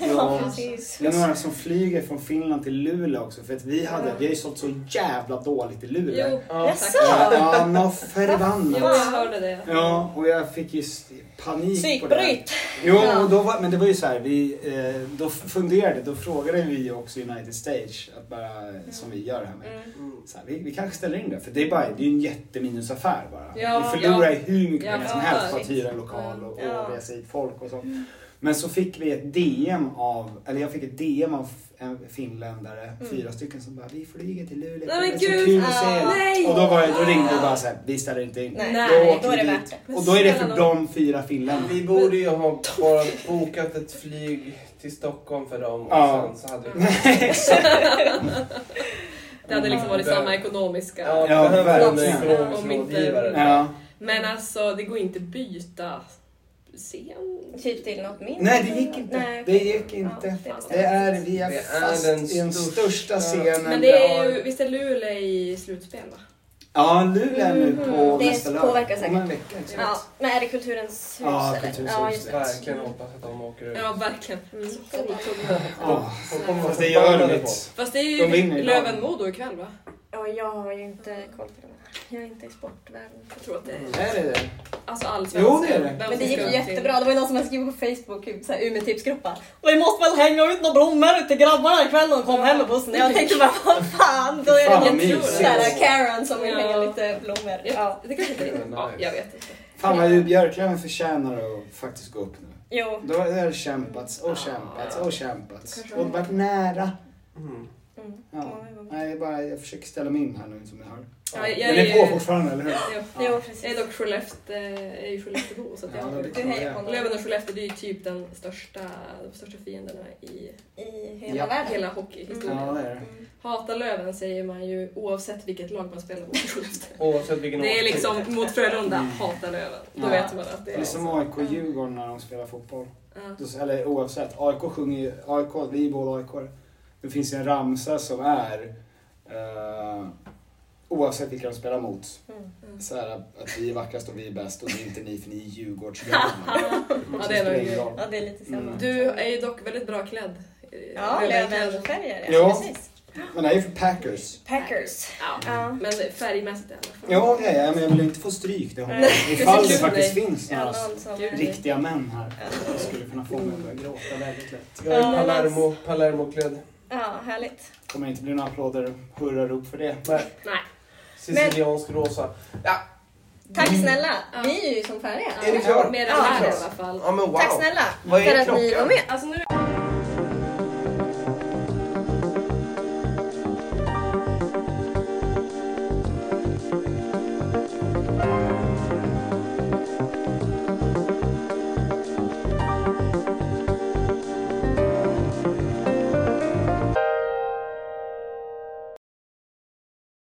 [SPEAKER 2] Ja,
[SPEAKER 3] Ja.
[SPEAKER 2] precis.
[SPEAKER 3] Det är några som flyger från Finland till Luleå också för att vi hade, vi har ju sålt så jävla dåligt i Luleå.
[SPEAKER 4] Jo,
[SPEAKER 1] Ja.
[SPEAKER 2] Jaså?
[SPEAKER 3] Ja,
[SPEAKER 2] Ja.
[SPEAKER 3] ja, nå
[SPEAKER 4] jo,
[SPEAKER 3] förbannat.
[SPEAKER 4] jag hörde det.
[SPEAKER 3] Ja, och jag fick just panik på det. här.
[SPEAKER 2] Psykbryt!
[SPEAKER 3] Jo,
[SPEAKER 2] Ja.
[SPEAKER 3] och då var, men det var ju så här, vi, eh, då funderade, då frågade vi också United Stage, att bara, som vi gör här med.
[SPEAKER 2] Mm.
[SPEAKER 1] Mm.
[SPEAKER 3] Så här, vi, vi kanske ställer in det, för det är, bara, det är ju en jätteminusaffär bara.
[SPEAKER 4] Ja,
[SPEAKER 3] vi förlorar
[SPEAKER 4] ja.
[SPEAKER 3] ju hur mycket
[SPEAKER 4] Ja,
[SPEAKER 3] pengar som
[SPEAKER 4] ja,
[SPEAKER 3] helst på att
[SPEAKER 2] visst.
[SPEAKER 3] hyra lokal och, och
[SPEAKER 2] Ja.
[SPEAKER 3] resa hit folk och sånt.
[SPEAKER 4] Mm.
[SPEAKER 3] Men så fick vi ett DM av, eller jag fick ett DM av en finländare, fyra stycken som bara vi flyger till Luleå,
[SPEAKER 4] Mm. Nej, men
[SPEAKER 3] det är så
[SPEAKER 4] gud.
[SPEAKER 3] kul att se
[SPEAKER 2] Ja.
[SPEAKER 3] er."
[SPEAKER 4] Nej.
[SPEAKER 3] Och då, var, jag- då ringde vi bara såhär, vi ställer inte in.
[SPEAKER 2] Nej,
[SPEAKER 4] Nej,
[SPEAKER 3] åker
[SPEAKER 2] då är
[SPEAKER 3] vi
[SPEAKER 2] det
[SPEAKER 3] dit.
[SPEAKER 2] värt det.
[SPEAKER 3] Och då är det för
[SPEAKER 4] Men
[SPEAKER 3] de fyra finländarna.
[SPEAKER 1] Vi borde ju ha bara bokat ett flyg till Stockholm för dem och
[SPEAKER 3] Ja.
[SPEAKER 1] sen så hade vi...
[SPEAKER 4] Mm. Det hade liksom varit
[SPEAKER 1] Mm.
[SPEAKER 4] samma ekonomiska.
[SPEAKER 1] Ja,
[SPEAKER 3] Ja,
[SPEAKER 1] vi behöver en
[SPEAKER 3] verkligen.
[SPEAKER 1] ekonomisk
[SPEAKER 4] Om inte-
[SPEAKER 1] rådgivare.
[SPEAKER 3] Ja.
[SPEAKER 4] Men alltså, det går inte byta scen.
[SPEAKER 2] Typ till något mindre.
[SPEAKER 3] Nej, det gick inte.
[SPEAKER 2] Nej,
[SPEAKER 3] Det
[SPEAKER 2] okej.
[SPEAKER 3] gick inte.
[SPEAKER 2] Ja, det
[SPEAKER 3] Det är, vi är
[SPEAKER 1] Det är
[SPEAKER 3] fast
[SPEAKER 1] den
[SPEAKER 3] i den
[SPEAKER 1] största-
[SPEAKER 3] största scenen.
[SPEAKER 4] Men det är
[SPEAKER 3] där.
[SPEAKER 4] ju, visst är Luleå i slutspel va?
[SPEAKER 3] Ja, Luleå är nu på
[SPEAKER 2] Mhm.
[SPEAKER 4] Mm-hmm.
[SPEAKER 2] Det
[SPEAKER 3] nästa
[SPEAKER 2] påverkar säkert.
[SPEAKER 3] Om en vecka. exakt.
[SPEAKER 2] Ja, men är det Kulturens hus?
[SPEAKER 3] Ja,
[SPEAKER 2] eller?
[SPEAKER 3] Kulturens
[SPEAKER 2] ja,
[SPEAKER 3] hus,
[SPEAKER 2] just det.
[SPEAKER 1] Verkligen hoppas att de åker ut.
[SPEAKER 4] Ja, verkligen.
[SPEAKER 2] Mm.
[SPEAKER 4] Håll tummarna.
[SPEAKER 3] Åh,
[SPEAKER 1] De kommer
[SPEAKER 3] Fast
[SPEAKER 1] vara
[SPEAKER 3] det gör
[SPEAKER 1] förbannade
[SPEAKER 3] inget.
[SPEAKER 4] Fast det
[SPEAKER 3] De
[SPEAKER 4] är
[SPEAKER 3] vinner
[SPEAKER 4] ju
[SPEAKER 3] idag.
[SPEAKER 4] Löven-Modo ikväll va?
[SPEAKER 2] Ja, jag har ju inte koll på den här. Jag är inte i sportvärlden.
[SPEAKER 4] Jag tror att det är...
[SPEAKER 3] Är det det?
[SPEAKER 4] Alltså
[SPEAKER 3] Jo,
[SPEAKER 4] allsvenskan.
[SPEAKER 3] det är det.
[SPEAKER 4] vem som
[SPEAKER 2] Men det gick
[SPEAKER 4] ska
[SPEAKER 2] ju
[SPEAKER 4] upp till-
[SPEAKER 2] jättebra. Det var ju någon som hade skrivit på Facebook, typ såhär Umeå-tipsgruppa. Vi måste väl hänga ut några blommor till grabbarna ikväll när de kommer hem med bussen. Jag tänkte bara, vad fan. Då är
[SPEAKER 3] Fan,
[SPEAKER 2] det
[SPEAKER 3] vad
[SPEAKER 2] ju
[SPEAKER 3] mysigt.
[SPEAKER 2] såhär Karen som vill
[SPEAKER 4] Ja.
[SPEAKER 2] hänga lite blommor. Ja.
[SPEAKER 4] Ja, det kanske inte är riktigt. Ja, jag vet inte.
[SPEAKER 3] Fan vad ju Björklöven förtjänar att faktiskt gå upp nu.
[SPEAKER 2] Jo.
[SPEAKER 3] Då har det kämpats och kämpats och kämpats.
[SPEAKER 4] Kanske
[SPEAKER 3] Och varit nära.
[SPEAKER 1] Mm.
[SPEAKER 2] Mm.
[SPEAKER 3] Ja. Nej, jag, bara, jag försöker ställa mig in här nu som ni hör.
[SPEAKER 4] Ja, jag
[SPEAKER 3] Den är
[SPEAKER 4] ju-
[SPEAKER 3] på fortfarande, eller hur?
[SPEAKER 4] Jo.
[SPEAKER 2] Jo,
[SPEAKER 4] Jag är
[SPEAKER 2] precis.
[SPEAKER 4] dock Skellefteå, jag är ju Skelleftebo så att
[SPEAKER 3] Ja, men
[SPEAKER 4] jag...
[SPEAKER 3] det-
[SPEAKER 2] Du hejar på honom.
[SPEAKER 4] Löven och Skellefteå det är ju typ den största, de största fienderna i
[SPEAKER 2] I hela
[SPEAKER 3] Ja.
[SPEAKER 2] världen. Mm.
[SPEAKER 4] hela hockeyhistorien.
[SPEAKER 3] Ja, det är det.
[SPEAKER 4] Hata Löven säger man ju oavsett vilket lag man spelar mot i Skellefteå.
[SPEAKER 1] Oavsett vilken
[SPEAKER 4] Det är
[SPEAKER 1] årstid.
[SPEAKER 4] liksom mot Frölunda,
[SPEAKER 2] Mm.
[SPEAKER 4] hata Löven. Då
[SPEAKER 3] Ja.
[SPEAKER 4] vet man att det
[SPEAKER 3] Det
[SPEAKER 4] är...
[SPEAKER 3] är som AIK och Djurgården när de spelar fotboll.
[SPEAKER 4] Ja.
[SPEAKER 3] Då- Eller oavsett, AIK sjunger ju, AIK, vi är båda AIK. Det finns ju en ramsa som är eh, oavsett vilka de spelar mot.
[SPEAKER 2] Mm.
[SPEAKER 3] Så här, att vi är vackrast och vi är bäst och det är inte ni för ni är Djurgårdsgrabbarna.
[SPEAKER 4] Ja, det är nog ju-
[SPEAKER 2] Ja, det är lite samma.
[SPEAKER 3] Mm.
[SPEAKER 4] Du är ju dock väldigt bra klädd.
[SPEAKER 2] Ja, Lövenfärger. Ja,
[SPEAKER 3] Ja.
[SPEAKER 2] precis.
[SPEAKER 3] Men det är ju för Packers.
[SPEAKER 2] Packers.
[SPEAKER 4] Ja.
[SPEAKER 2] Ja.
[SPEAKER 1] Mm.
[SPEAKER 4] Men färgmässigt i alla fall.
[SPEAKER 3] Ja, det är jag, men jag vill inte få stryk. Det har jag.
[SPEAKER 2] Nej.
[SPEAKER 3] Ifall det
[SPEAKER 4] Kul,
[SPEAKER 3] faktiskt
[SPEAKER 4] nej.
[SPEAKER 3] finns
[SPEAKER 2] Ja,
[SPEAKER 3] några
[SPEAKER 2] någon som...
[SPEAKER 3] riktiga män här. som skulle kunna få mig att börja gråta väldigt lätt.
[SPEAKER 1] Jag är Palermo, Palermo-klädd.
[SPEAKER 2] Ja, härligt.
[SPEAKER 3] kommer inte bli några applåder och hurrarop för det.
[SPEAKER 1] Nej,
[SPEAKER 4] Nej.
[SPEAKER 1] siciliansk rosa. Ja,
[SPEAKER 2] Tack
[SPEAKER 1] Mm.
[SPEAKER 2] snälla.
[SPEAKER 4] Ja.
[SPEAKER 2] Vi är ju som färdiga.
[SPEAKER 1] Är ni klara?
[SPEAKER 4] Mer än
[SPEAKER 2] Ja.
[SPEAKER 4] här i alla fall.
[SPEAKER 1] ja men wow.
[SPEAKER 2] Tack snälla
[SPEAKER 1] Vad är
[SPEAKER 2] för att ni
[SPEAKER 1] klockan?
[SPEAKER 2] var med.
[SPEAKER 4] Alltså nu...